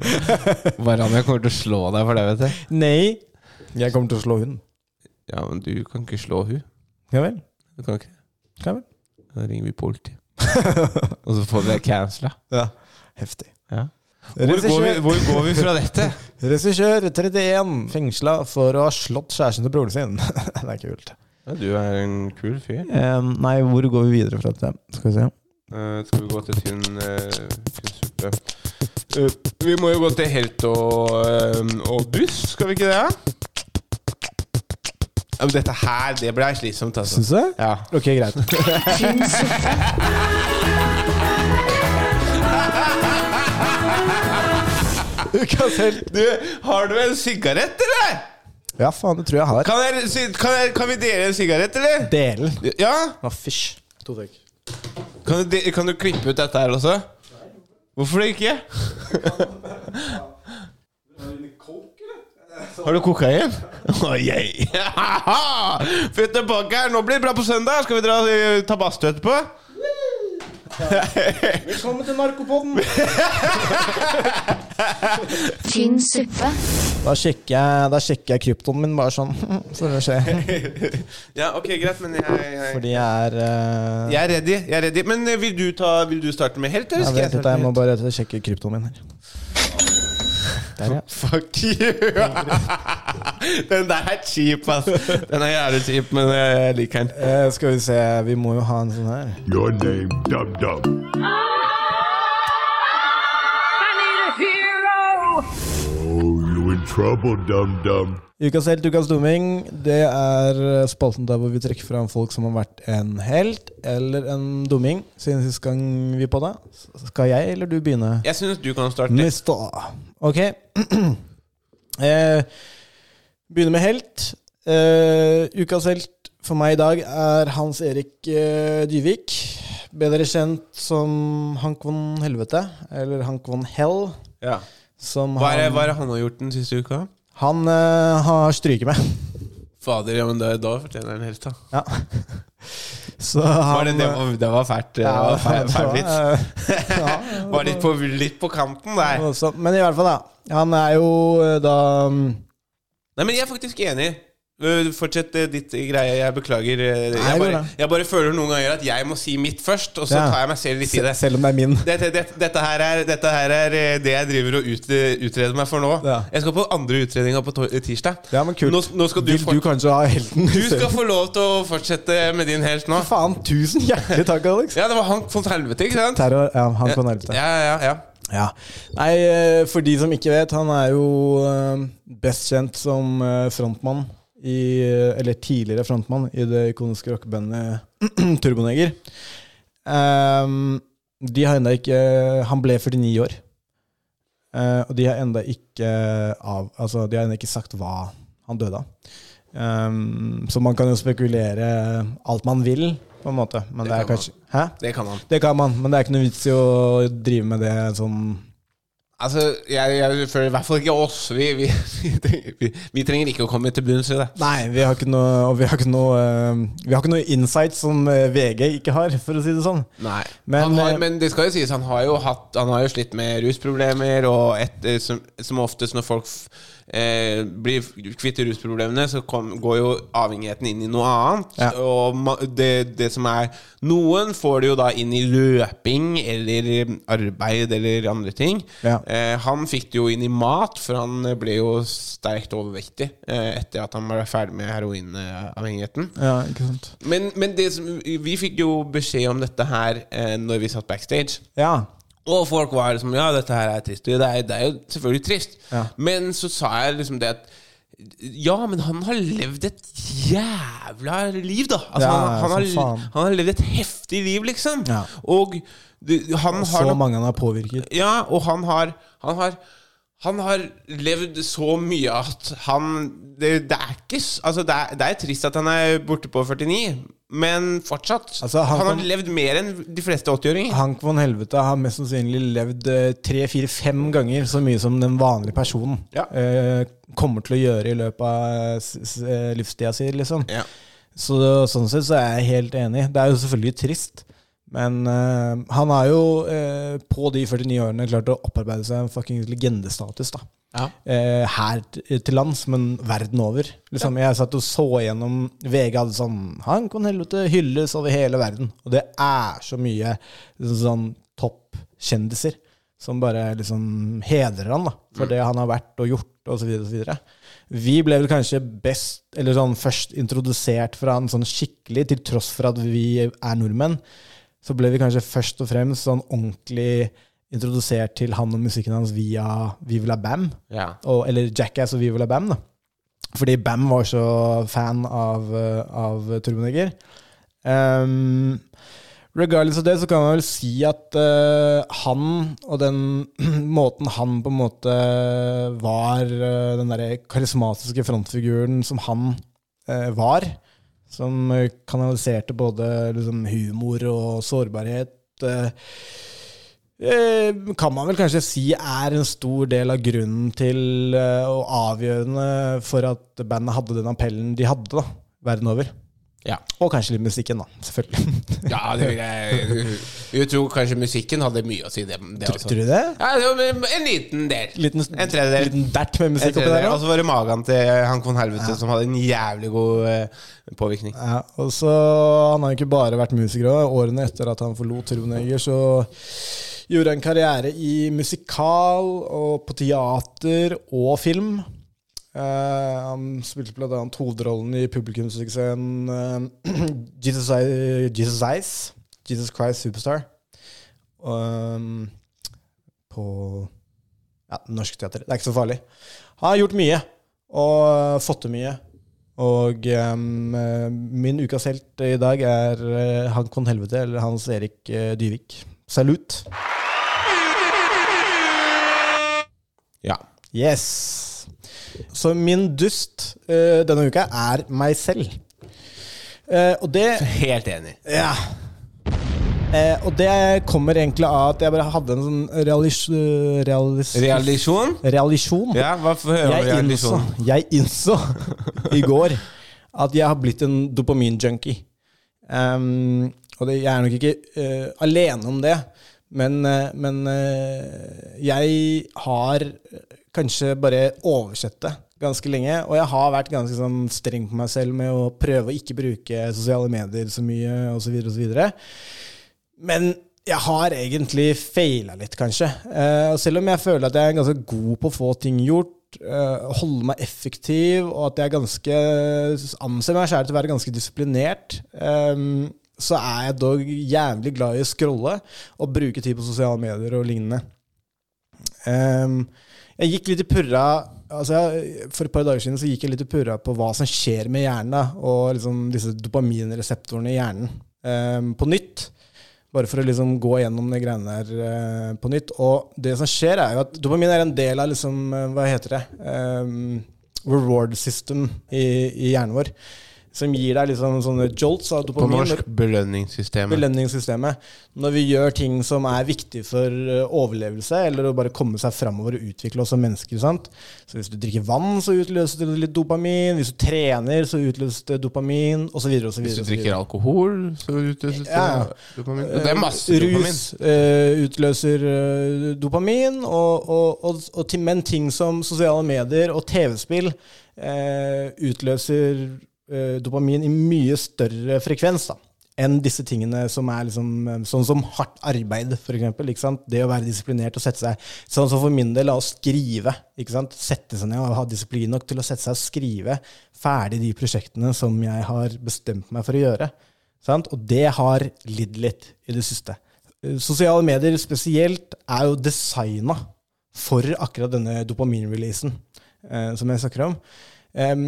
Speaker 3: Varan, jeg kommer til å slå deg for det, vet du.
Speaker 2: Nei. Jeg kommer til å slå hunden.
Speaker 3: Ja, men du kan ikke slå hun.
Speaker 2: Ja vel?
Speaker 3: Du kan ikke.
Speaker 2: Ja vel?
Speaker 3: Da ringer vi politiet. [LAUGHS] og så får vi det cancela.
Speaker 2: Ja. Heftig.
Speaker 3: Ja. Hvor, går vi,
Speaker 2: Regissør
Speaker 3: hvor går vi fra dette?
Speaker 2: regissør 31 fengsla for å ha slått kjæresten til broren sin. [LAUGHS] det er kult.
Speaker 3: du er en kul fyr.
Speaker 2: Um, nei, hvor går vi videre fra dette? Skal vi se.
Speaker 3: Eh, skal vi gå til tynn, suppe? Eh, vi må jo gå til helt og, eh, og buss, skal vi ikke det? da? Ja, men dette her, det ble slitsomt, altså.
Speaker 2: Syns du det?
Speaker 3: Ja.
Speaker 2: Ok, greit.
Speaker 1: Tynn
Speaker 2: [LAUGHS]
Speaker 1: suppe.
Speaker 2: Ukas helt.
Speaker 3: Du, har du en sigarett, eller?
Speaker 2: Ja, faen, det tror jeg har.
Speaker 3: Kan, jeg, si- kan, jeg, kan vi dele en sigarett, eller?
Speaker 2: Delen.
Speaker 3: Ja?
Speaker 2: Å, fysj. To tøkk.
Speaker 3: Kan du, de- kan du klippe ut dette her også? Hvorfor det ikke? Har du kokain? Oh, [LAUGHS] Fytte pokker, nå blir det bra på søndag. Skal vi dra eh, ta badstue etterpå?
Speaker 2: Velkommen til narkopodden!
Speaker 1: tynn suppe,
Speaker 2: Da sjekker jeg, da sjekker jeg kryptoen min bare sånn, [LAUGHS] så det skjer.
Speaker 3: Ja, ok, greit, men jeg, jeg,
Speaker 2: Fordi jeg er eh,
Speaker 3: jeg er ready. jeg er ready Men eh, vil du, ta, vil du starte med helt, eller
Speaker 2: Jeg
Speaker 3: skal jeg
Speaker 2: vet
Speaker 3: starte
Speaker 2: ikke, jeg må
Speaker 3: med helt?
Speaker 2: bare sjekke kryptoen min her. Der, ja.
Speaker 3: Fuck you! [LAUGHS] den der er kjip, ass. Den er jævlig kjip, men jeg liker den.
Speaker 2: Eh, skal vi se, vi må jo ha en sånn her.
Speaker 6: Your name, Dum Dum. Oh, you in trouble, Dum Dum.
Speaker 2: Ukas helt, ukas dumming, det er eh, spalten der hvor vi trekker fram folk som har vært en helt eller en dumming siden sist gang vi på det. Skal jeg eller du begynne?
Speaker 3: Jeg syns du kan starte.
Speaker 2: Mister. Ok. [CLEARS THROAT] eh, begynner med helt. Eh, ukas helt for meg i dag er Hans Erik eh, Dyvik. Bedre kjent som Hank von Helvete, eller Hank von Hell.
Speaker 3: Ja.
Speaker 2: Som
Speaker 3: Hva er, det-
Speaker 2: han,
Speaker 3: hva er det han har gjort den siste uka?
Speaker 2: han eh, har stryket med.
Speaker 3: Fader, ja, men da, da fortjener han helt, da.
Speaker 2: Ja. [LAUGHS] Så
Speaker 3: Var
Speaker 2: han
Speaker 3: det, det,
Speaker 2: eh,
Speaker 3: var, det var fælt. Det var fæl, fæl vits.
Speaker 2: eh, [LAUGHS] ja,
Speaker 3: Var litt på, litt på kanten der.
Speaker 2: voldsomt. Men i hvert fall, da. Han er jo eh, da
Speaker 3: Nei, men jeg er faktisk enig. Øh, Fortsett eh, ditt greie. Jeg beklager. eh,
Speaker 2: Nei, går
Speaker 3: Jeg bare,
Speaker 2: det.
Speaker 3: jeg bare føler noen ganger at jeg må si mitt først, og så
Speaker 2: Ja.
Speaker 3: tar jeg meg selv litt i
Speaker 2: se-
Speaker 3: det.
Speaker 2: Selv om det er min.
Speaker 3: Dette, dette, dette, her er, dette her er eh, det jeg driver og ut, utreder meg for nå.
Speaker 2: Ja.
Speaker 3: Jeg skal på andre utredninga på tor- tirsdag.
Speaker 2: Ja, men kult.
Speaker 3: Nå, nå skal du,
Speaker 2: Vil
Speaker 3: fort-
Speaker 2: du kanskje ha helten?
Speaker 3: du skal få lov til å fortsette med din helt nå.
Speaker 2: Faen, tusen hjertelig takk, Alex.
Speaker 3: Ja, det var Hank von Helvete, ikke sant?
Speaker 2: Terror, ja, han kan hjelpe
Speaker 3: Ja,
Speaker 2: deg.
Speaker 3: ja, ja.
Speaker 2: Ja. Nei, eh, for de som ikke vet, han er jo eh, best kjent som eh, frontmann i eh, Eller tidligere frontmann i det ikoniske rockebandet [CLEARS THROAT] Turboneger. Ehm, de har enda ikke Han ble 49 år. Eh, og de har enda ikke av Altså, de har enda ikke sagt hva han døde av. Ehm, så man kan jo spekulere alt man vil, på en måte. Men det, er
Speaker 3: kan man.
Speaker 2: kanskje Hæ?
Speaker 3: Det kan han.
Speaker 2: Det kan man, men det er ikke noe vits i å drive med det sånn
Speaker 3: Altså, jeg, jeg føler i hvert fall ikke oss. Vi, vi, [LAUGHS] vi, vi trenger ikke å komme til bunns i det.
Speaker 2: Nei, vi har ikke noe, og vi har ikke noe, eh, vi har ikke noe insight som eh, VG ikke har, for å si det sånn.
Speaker 3: Nei.
Speaker 2: Men,
Speaker 3: han har,
Speaker 2: eh,
Speaker 3: men det skal jo sies, han har jo, hatt, han har jo slitt med rusproblemer, og et, eh, som, som oftest når folk f- eh, blir kvitt rusproblemene, så kom, går jo avhengigheten inn i noe annet.
Speaker 2: Ja.
Speaker 3: Og ma, det, det som er Noen får det jo da inn i løping eller arbeid eller andre ting.
Speaker 2: Ja.
Speaker 3: Eh, han fikk det jo inn i mat, for han eh, ble jo sterkt overvektig eh, etter at han var ferdig med heroinavhengigheten.
Speaker 2: Ja, ikke sant?
Speaker 3: Men, men det som, vi fikk jo beskjed om dette her eh, når vi satt backstage.
Speaker 2: Ja,
Speaker 3: Og folk var liksom Ja, dette her er trist. Det er, det er jo selvfølgelig trist.
Speaker 2: Ja.
Speaker 3: Men så sa jeg liksom det at ja, men han har levd et jævla liv, da. Altså,
Speaker 2: Ja,
Speaker 3: han, han,
Speaker 2: som
Speaker 3: har,
Speaker 2: faen.
Speaker 3: han har levd et heftig liv, liksom.
Speaker 2: Ja.
Speaker 3: Og du- han har
Speaker 2: så
Speaker 3: nok
Speaker 2: mange han har påvirket.
Speaker 3: ja, og han har Han har, han har levd så mye at han Det, det er ikke s- Altså, det er, det er trist at han er borte på 49, men fortsatt.
Speaker 2: Altså, han
Speaker 3: han
Speaker 2: kan-
Speaker 3: har levd mer enn de fleste 80-åringer.
Speaker 2: Hank von Helvete har mest sannsynlig levd eh, tre-fire-fem ganger så mye som den vanlige personen
Speaker 3: Ja.
Speaker 2: eh, kommer til å gjøre i løpet av s- s- eh, livstida si, liksom.
Speaker 3: Ja.
Speaker 2: Så sånn sett så er jeg helt enig. Det er jo selvfølgelig trist. Men eh, han har jo eh, på de 49 årene klart å opparbeide seg en fucking legendestatus. da.
Speaker 3: Ja.
Speaker 2: Eh, her t- til lands, men verden over. Liksom, Jeg satt og så gjennom VG hadde sånn Han kan helvete hylles over hele verden. Og det er så mye liksom, sånn toppkjendiser som bare liksom hedrer han da, for det han har vært og gjort, osv. videre Vi ble vel kanskje best, eller sånn først introdusert for han sånn skikkelig, til tross for at vi er nordmenn. Så ble vi kanskje først og fremst sånn ordentlig introdusert til han og musikken hans via Viva La Bam
Speaker 3: Ja.
Speaker 2: og, eller Jackass og Viva La Bam, da. Fordi Bam var så fan av, eh, av Turboneger. Um, regardless av det, så kan man vel si at eh, han, og den [CLEARS THROAT] måten han på en måte var eh, den derre karismatiske frontfiguren som han eh, var, som eh, kanaliserte både liksom, humor og sårbarhet eh, Eh, kan man vel kanskje si er en stor del av grunnen til eh, og avgjørende for at bandet hadde den appellen de hadde da, verden over.
Speaker 3: Ja.
Speaker 2: Og kanskje litt musikken, da. Selvfølgelig. [LAUGHS]
Speaker 3: Ja, det vil jeg Jeg tror kanskje musikken hadde mye å si. Det, det også.
Speaker 2: Tror du det?
Speaker 3: Ja, det var en liten del.
Speaker 2: Liten,
Speaker 3: en tredjedel.
Speaker 2: liten dert med
Speaker 3: En
Speaker 2: musikk oppi der.
Speaker 3: tredjedel.
Speaker 2: da.
Speaker 3: Og så var det Altså, magen til eh, han kon helvete som hadde en jævlig god eh, påvirkning.
Speaker 2: Ja, og så Han har jo ikke bare vært musiker. Også. Årene etter at han forlot Troneger, så gjorde han karriere i musikal og på teater og film. Eh, han spilte blant annet hovedrollen i publikumssuksessen eh, [CLEARS THROAT] Jesus, I- Jesus Eyes, Jesus Christ Superstar, um, på ja, norsk teater. Det er ikke så farlig. Han har gjort mye, og eh, fått til mye. Og em, eh, min ukas helt i dag er eh, han kon helvete, eller Hans Erik eh, Dyvik. Salut!
Speaker 3: Ja.
Speaker 2: Yes! Så min dust eh, denne uka er meg selv. Eh, og det
Speaker 3: Helt enig.
Speaker 2: Ja. Eh, og det kommer egentlig av at jeg bare hadde en sånn realis... realis
Speaker 3: Realisjon?
Speaker 2: realisjon.
Speaker 3: Ja, hva får høre om
Speaker 2: jeg, innså,
Speaker 3: realisjon?
Speaker 2: jeg innså i går at jeg har blitt en dopaminjunkie. Um, og det, jeg er nok ikke eh, alene om det, men, eh, men eh, jeg har kanskje bare oversett det ganske lenge. Og jeg har vært ganske sånn streng på meg selv med å prøve å ikke bruke sosiale medier så mye osv. videre men jeg har egentlig feila litt, kanskje. Eh, og selv om jeg føler at jeg er ganske god på å få ting gjort, eh, holde meg effektiv, og at jeg er ganske anser meg selv til å være ganske disiplinert, eh, så er jeg dog jævlig glad i å scrolle og bruke tid på sosiale medier og lignende. Ehm, jeg gikk litt i purra altså jeg, For et par dager siden så gikk jeg litt i purra på hva som skjer med hjernen, da, og liksom disse dopaminreseptorene i hjernen ehm, på nytt. Bare for å liksom gå gjennom de greiene der eh, på nytt. Og det som skjer, er jo at dopamin er en del av liksom, eh, Hva heter det? Ehm, reward system i, i hjernen vår. Som gir deg liksom sånne jolts av
Speaker 3: På
Speaker 2: dopamin.
Speaker 3: norsk belønningssystemet.
Speaker 2: Belønningssystemet. Når vi gjør ting som er viktig for eh, overlevelse, eller å bare komme seg framover og utvikle oss som mennesker. sant? Så Hvis du drikker vann, så utløser det litt dopamin. Hvis du trener, så utløser det dopamin, osv.
Speaker 3: Hvis du drikker alkohol, så utløses det
Speaker 2: Ja. Eh,
Speaker 3: dopamin. Det er masse dopamin.
Speaker 2: Rus eh, utløser eh, dopamin, og, og, og, og til, men ting som sosiale medier og TV-spill eh, utløser eh, dopamin i mye større frekvens da, enn disse tingene som er liksom, eh, sånn som hardt arbeid, for eksempel. Ikke sant? Det å være disiplinert og sette seg Sånn som for min del, la oss skrive. Ikke sant? Sette seg ned og ha disiplin nok til å sette seg og skrive ferdig de prosjektene som jeg har bestemt meg for å gjøre. Sant? Og det har lidd litt i det siste. Eh, Sosiale medier spesielt er jo designa for akkurat denne dopaminreleasen eh, som jeg snakker om. Em,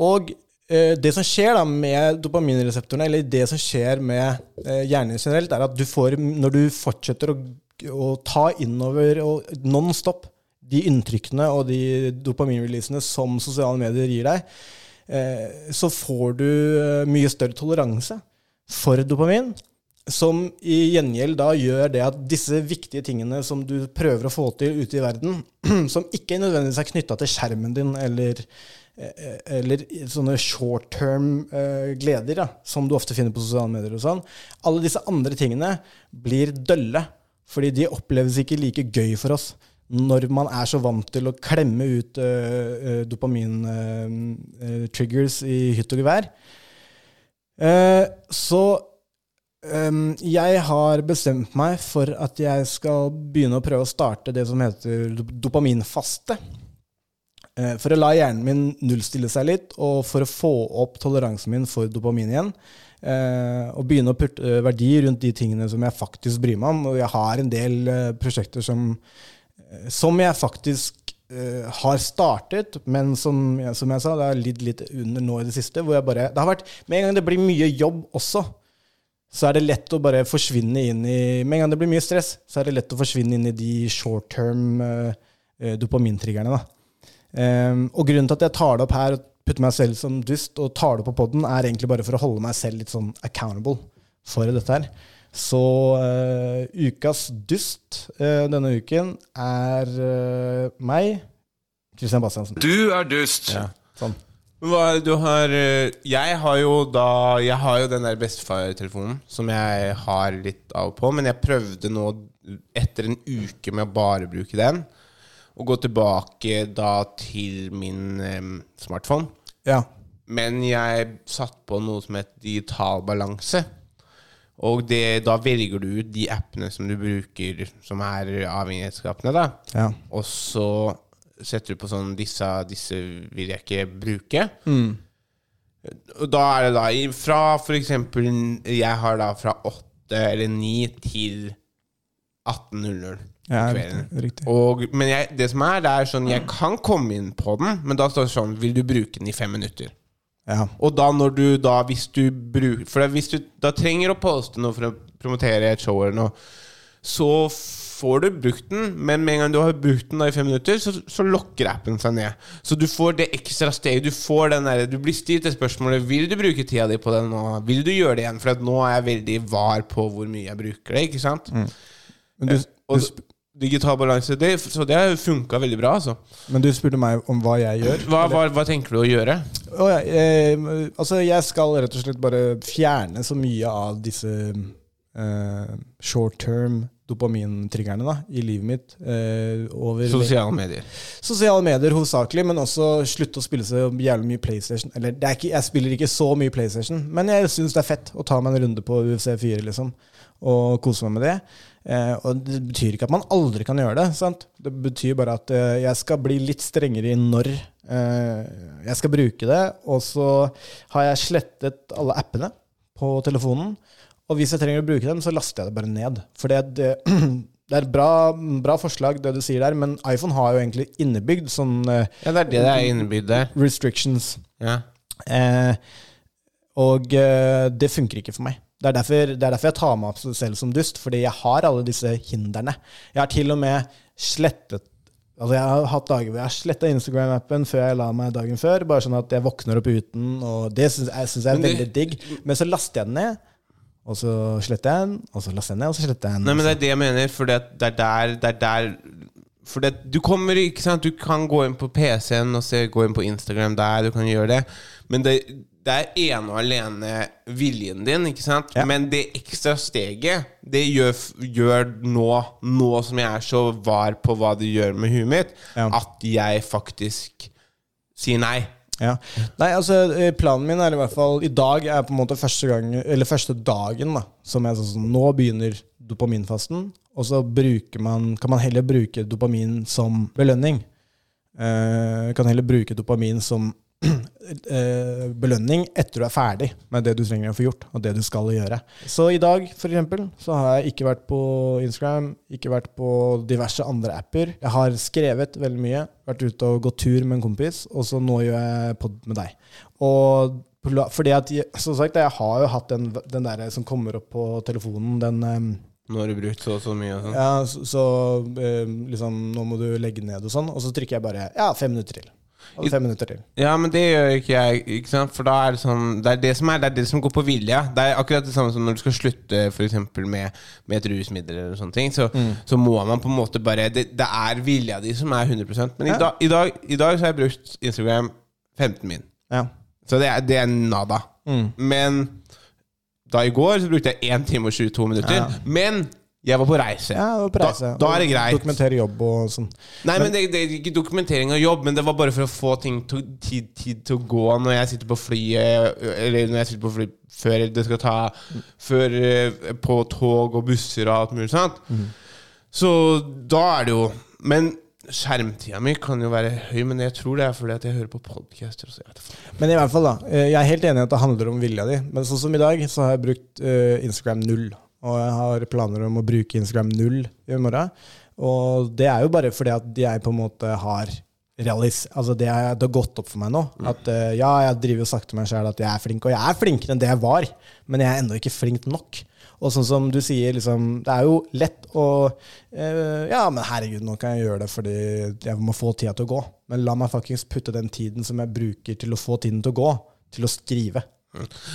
Speaker 2: og eh, det som skjer da med dopaminreseptorene, eller det som skjer med eh, hjernen generelt, er at du får, når du fortsetter å, å ta innover og non stop de inntrykkene og de dopaminreleasene som sosiale medier gir deg, eh, så får du eh, mye større toleranse for dopamin. Som i gjengjeld da gjør det at disse viktige tingene som du prøver å få til ute i verden, [CLEARS THROAT] som ikke nødvendigvis er knytta til skjermen din eller, eh, eller sånne short term eh, gleder, da, som du ofte finner på sosiale medier og sånn, alle disse andre tingene blir dølle. Fordi de oppleves ikke like gøy for oss når man er så vant til å klemme ut eh, dopamin-triggers eh, i hytt og gevær. Eh, så ehm, jeg har bestemt meg for at jeg skal begynne å prøve å starte det som heter dop- dopaminfaste. Eh, For å la hjernen min nullstille seg litt, og for å få opp toleransen min for dopamin igjen. eh, Og begynne å putte eh, verdi rundt de tingene som jeg faktisk bryr meg om. Og jeg har en del eh, prosjekter som, eh, som jeg faktisk eh, har startet, men som, jeg- som jeg sa, det har lidd litt under nå i det siste. Hvor jeg bare, det har vært, med en gang det blir mye jobb også, så er det lett å bare forsvinne inn i Med en gang det blir mye stress, så er det lett å forsvinne inn i de short term eh, eh, dopamintriggerne. da. Ehm, og grunnen til at jeg tar det opp her og putter meg selv som dust, og tar det opp på poden, er egentlig bare for å holde meg selv litt sånn accountable for dette her. Så eh, ukas dust eh, denne uken er eh, meg, Christian Bastiansen.
Speaker 7: Du er dust.
Speaker 2: Sånn.
Speaker 3: Hva, er det du har eh, Jeg har jo da Jeg har jo den der bestefar-telefonen som jeg har litt av og på, men jeg prøvde nå, etter en uke med å bare bruke den, å gå tilbake da til min eh, smartphone.
Speaker 2: Ja.
Speaker 3: Men jeg satt på noe som heter digital balanse. Og det, da velger du ut de appene som du bruker, som er avhengighetsskapende. da.
Speaker 2: Ja.
Speaker 3: Og så setter du på sånn Disse, disse vil jeg ikke bruke. Og da er det da i- fra for eksempel Jeg har da fra 8 eller 9 til 18.00
Speaker 2: ja
Speaker 3: om kvelden.
Speaker 2: riktig. riktig.
Speaker 3: Og, men jeg, det som er, det er sånn Jeg kan komme inn på den, men da står det sånn Vil du bruke den i fem minutter?
Speaker 2: Ja.
Speaker 3: Og da når du da Hvis du bruker For da- hvis du da trenger å poste noe for å promotere et show eller noe, så får du brukt den, men med en gang du har brukt den da i fem minutter, så, så lokker appen seg ned. Så du får det ekstra steget. Du får den der, du blir stilt det spørsmålet Vil du bruke tida di på den nå. Vil du gjøre det igjen? For at nå er jeg veldig var på hvor mye jeg bruker det. ikke sant?
Speaker 2: Men, du,
Speaker 3: Eh, Og
Speaker 2: du,
Speaker 3: s- digital balanse, det, så det har funka veldig bra, altså.
Speaker 2: sp- men du spurte meg om hva jeg gjør.
Speaker 3: Hva, hva, hva tenker du å gjøre?
Speaker 2: Å ja, eh, altså jeg skal rett og slett bare fjerne så mye av disse eh, short term dopamintriggerne da, i livet mitt. Eh, over
Speaker 3: Sosiale medier.
Speaker 2: sosiale medier hovedsakelig, men også slutte å spille så jævlig mye PlayStation. Eller det er ikke, jeg spiller ikke så mye PlayStation, men jeg syns det er fett å ta meg en runde på UFC4 liksom, og kose meg med det. Eh, og det betyr ikke at man aldri kan gjøre det. Sant? Det betyr bare at eh, jeg skal bli litt strengere i når eh, jeg skal bruke det. Og så har jeg slettet alle appene på telefonen. Og hvis jeg trenger å bruke dem, så laster jeg det bare ned. For det, [CLEARS THROAT] det, det er et bra, bra forslag, det du sier der, men iPhone har jo egentlig innebygd sånn eh,
Speaker 3: Ja, det er det det er innebygd der.
Speaker 2: restrictions.
Speaker 3: Ja.
Speaker 2: Eh, og eh, det funker ikke for meg. Det er, derfor, det er derfor jeg tar meg opp selv som dust, fordi jeg har alle disse hindrene. Jeg har til og med slettet Altså Jeg har hatt dager hvor jeg har sletta Instagram-appen før jeg la meg dagen før. Bare sånn at jeg våkner opp uten, og det syns jeg, synes jeg er
Speaker 3: Men
Speaker 2: veldig
Speaker 3: det-
Speaker 2: digg. Men så laster jeg den ned, og så sletter jeg den, og så laster jeg den ned, og så sletter jeg den.
Speaker 3: Nei, men det er det jeg mener, for det er der, det er der For det, du kommer, ikke sant Du kan gå inn på PC-en og se, gå inn på Instagram der, du kan gjøre det. Men det, det er ene og alene viljen din, ikke sant?
Speaker 2: Ja.
Speaker 3: Men det ekstra steget, det gjør, f- gjør nå, nå som jeg er så var på hva det gjør med huet mitt,
Speaker 2: Ja.
Speaker 3: at jeg faktisk sier nei.
Speaker 2: Ja. Nei, altså eh, planen min er i hvert fall I dag er på en måte første, gang, eller første dagen da, som jeg sånn som Nå begynner dopaminfasten, og så bruker man, kan man heller bruke dopamin som belønning. Eh, kan heller bruke dopamin som [CLEARS THROAT] eh, belønning etter du er ferdig med det du trenger å få gjort, og det du skal gjøre. Så i dag, for eksempel, så har jeg ikke vært på Instagram, ikke vært på diverse andre apper. Jeg har skrevet veldig mye, vært ute og gått tur med en kompis, og så nå gjør jeg pod med deg. Og pla- fordi at, jeg- som sagt, jeg har jo hatt den, den der som kommer opp på telefonen, den ehm, em,
Speaker 3: Nå har du brukt så og så mye og sånn.
Speaker 2: ja, så, så eh, liksom, nå må du legge ned og sånn, og så trykker jeg bare, ja, fem minutter til. Og fem minutter til.
Speaker 3: Ja, men det gjør ikke jeg. Ikke sant? For da er det sånn Det er det som er Det er det som går på vilje. Det er akkurat det samme som når du skal slutte for eksempel, med, med et rusmiddel eller sånne ting. Så, så må man på en måte bare Det, det er vilja di som er 100 Men i,
Speaker 2: Ja.
Speaker 3: dag- i, dag, i dag så har jeg brukt Instagram 15 min.
Speaker 2: Ja.
Speaker 3: Så det er, det er nada. Men da i går så brukte jeg 1 time og 22 minutter.
Speaker 2: Ja.
Speaker 3: Men jeg var på reise.
Speaker 2: Ja, og preise.
Speaker 3: Da, da er det
Speaker 2: og
Speaker 3: greit.
Speaker 2: Dokumentere jobb og sånn.
Speaker 3: Nei, men det, det er ikke dokumentering av jobb, men det var bare for å få ting to, tid, tid til å gå når jeg sitter på flyet, eller når jeg sitter på fly før det skal ta Før eh, på tog og busser og alt mulig sånt. Så da er det jo Men skjermtida mi kan jo være høy, men jeg tror det er fordi at jeg hører på podcaster. Så jeg vet faen.
Speaker 2: Men i hvert fall, da. eh, Jeg er helt enig i at det handler om vilja di. Men sånn som i dag, så har jeg brukt eh, Instagram null. Og jeg har planer om å bruke Instagram null i morgen. Og det er jo bare fordi at jeg på en måte har realis... Altså det, er, det har gått opp for meg nå.
Speaker 3: Mm.
Speaker 2: At eh, ja, jeg driver og sagt til meg sjøl at jeg er flink, og jeg er flinkere enn det jeg var. Men jeg er ennå ikke flink nok. Og sånn som du sier, liksom, det er jo lett å eh, Ja, men herregud, nå kan jeg gjøre det fordi jeg må få tida til å gå. Men la meg fuckings putte den tiden som jeg bruker til å få tiden til å gå, til å skrive.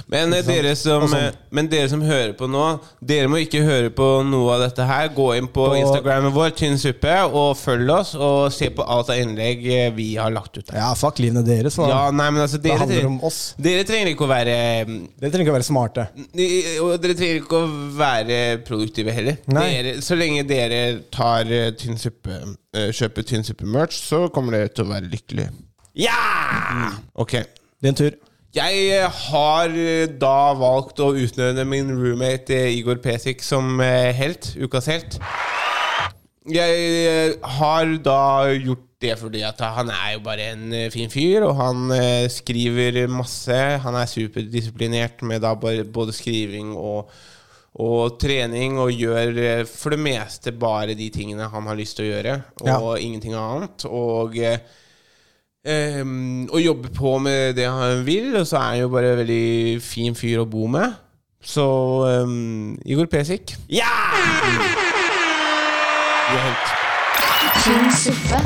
Speaker 3: Men eh, dere, som,
Speaker 2: sånn.
Speaker 3: eh, men dere som hører på nå, dere må ikke høre på noe av dette her. Gå inn på,
Speaker 2: På-
Speaker 3: Instagrammen vår, Tynn suppe, og følg oss, og se på alt av innlegg eh, vi har lagt ut der.
Speaker 2: Ja, fuck livene deres, da.
Speaker 3: Ja, nei, men altså, dere,
Speaker 2: handler
Speaker 3: tre-
Speaker 2: om oss.
Speaker 3: Dere trenger ikke å være eh,
Speaker 2: Dere trenger ikke å være smarte.
Speaker 3: Mm. Ni- Og dere trenger ikke å være produktive heller.
Speaker 2: Nei.
Speaker 3: Dere, så lenge dere tar eh, tynn suppe, eh, kjøper tynn suppe-merch, så kommer dere til å være lykkelige. Ja! Ok.
Speaker 2: Din tur.
Speaker 3: Jeg eh, har eh, da valgt å utnevne min roommate eh, Igor Pesik som eh, helt. Ukas helt. Jeg eh, har da gjort det fordi at han er jo bare en eh, fin fyr, og han eh, skriver masse. Han er superdisiplinert med da bare- både skriving og, og trening, og gjør eh, for det meste bare de tingene han har lyst til å gjøre, og
Speaker 2: Ja.
Speaker 3: ingenting annet. Og eh, Ehm, og jobbe på med det han vil, og så er han jo bare en veldig fin fyr å bo med. Så ehm, Igor Pesik. Ja! Du er helt
Speaker 1: tynn suppe,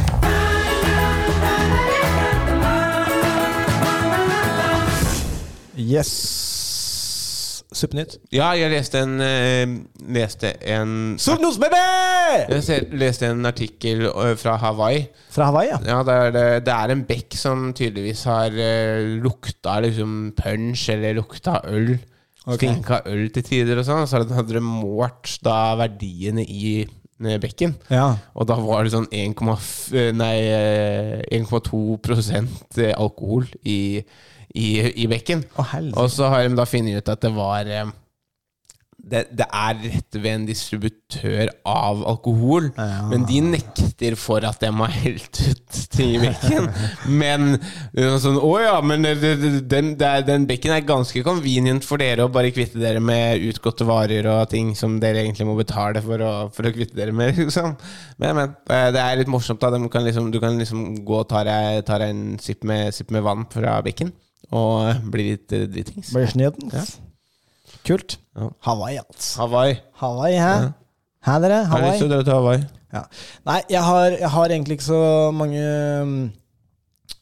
Speaker 2: Yes. Suppenytt.
Speaker 3: Ja, jeg leste en ehm, Leste en
Speaker 2: Solnosbaby!
Speaker 3: jeg ser- leste en artikkel eh, fra Hawaii.
Speaker 2: Fra Hawaii, ja.
Speaker 3: Ja, det er, det, det er en bekk som tydeligvis har eh, lukta liksom punch, eller lukta øl.
Speaker 2: Ok.
Speaker 3: Stinka øl til tider og sånn. Så hadde de målt da verdiene i eh, bekken.
Speaker 2: Ja.
Speaker 3: Og da var det sånn 1,5 nei, eh, 1,2 prosent, eh, alkohol i, i, i bekken.
Speaker 2: Å, helvete.
Speaker 3: og så har de da funnet ut at det var eh, det, det er rett ved en distributør av alkohol, men de nekter for at de har helt ut ting i bekken. Men det er sånn, å ja, men det- det- den, det er- den bekken er ganske convenient for dere å bare kvitte dere med utgåtte varer og ting som dere egentlig må betale for å, for å kvitte dere med. [LAUGHS] Liksom. Men, men eh, det er litt morsomt. da De kan liksom, Du kan liksom gå og ta deg, ta deg en sipp med, sipp med vann fra bekken og bli litt eh, dritings.
Speaker 2: Børsnyheten. Kult.
Speaker 3: Ja.
Speaker 2: Hawaii, altså.
Speaker 3: Hawaii.
Speaker 2: Hawaii, hæ? Hæ, dere?
Speaker 3: Har du lyst til
Speaker 2: Hawaii?
Speaker 3: å dra til Hawaii?
Speaker 2: Ja. Nei, jeg har, jeg har egentlig ikke så mange mm,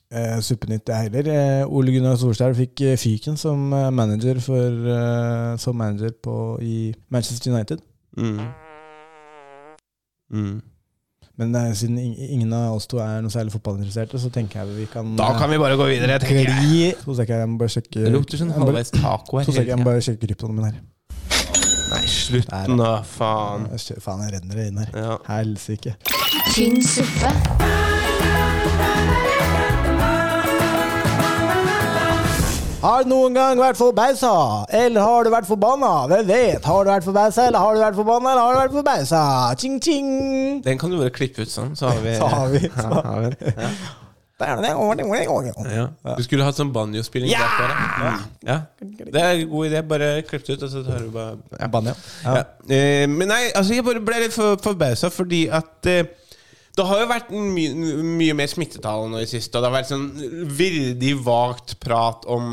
Speaker 2: eh, suppenytt, jeg heller. Eh, Ole Gunnar Solskjær fikk eh, fyken som eh, manager, for, eh, som manager på, i Manchester United.
Speaker 3: Mm. Mm.
Speaker 2: Men eh, siden ing- ingen av oss to er noe særlig fotballinteresserte, så tenker jeg vi kan eh,
Speaker 3: Da kan vi bare gå videre, tenker jeg.
Speaker 2: gli To sekunder, jeg må bare sjekke
Speaker 3: Det lukter sånn
Speaker 2: jeg må bare-
Speaker 3: halvveis taco her.
Speaker 2: To sekunder, jeg må
Speaker 3: hele tiden.
Speaker 2: bare sjekke kryptoen min her.
Speaker 3: Nei, slutt nå, faen.
Speaker 2: Jeg kjø- Faen, jeg renner det inn her.
Speaker 3: Ja.
Speaker 2: Helsike.
Speaker 1: tynn suppe,
Speaker 2: Har du noen gang vært forbausa? Eller har du vært forbanna? Hvem vet? Har du vært forbausa, eller har du vært forbanna, eller har du vært forbausa? Ching, ching.
Speaker 3: Den kan du bare klippe ut sånn, så har vi,
Speaker 2: Så har vi-
Speaker 3: [LAUGHS] Ja, har vi den. Ja.
Speaker 2: Der er det. Over det, over det, over det.
Speaker 3: Ja. Du skulle hatt sånn banjospilling ja! bak der. da. Ja. Det er en god idé. Bare klipp det ut, og så tar du bare ja.
Speaker 2: Banne,
Speaker 3: Ja.
Speaker 2: ja.
Speaker 3: Eh, men nei, altså jeg bare ble litt for, forbausa fordi at eh, det har jo vært my mye mer smittetall nå i siste, og det har vært sånn veldig vagt prat om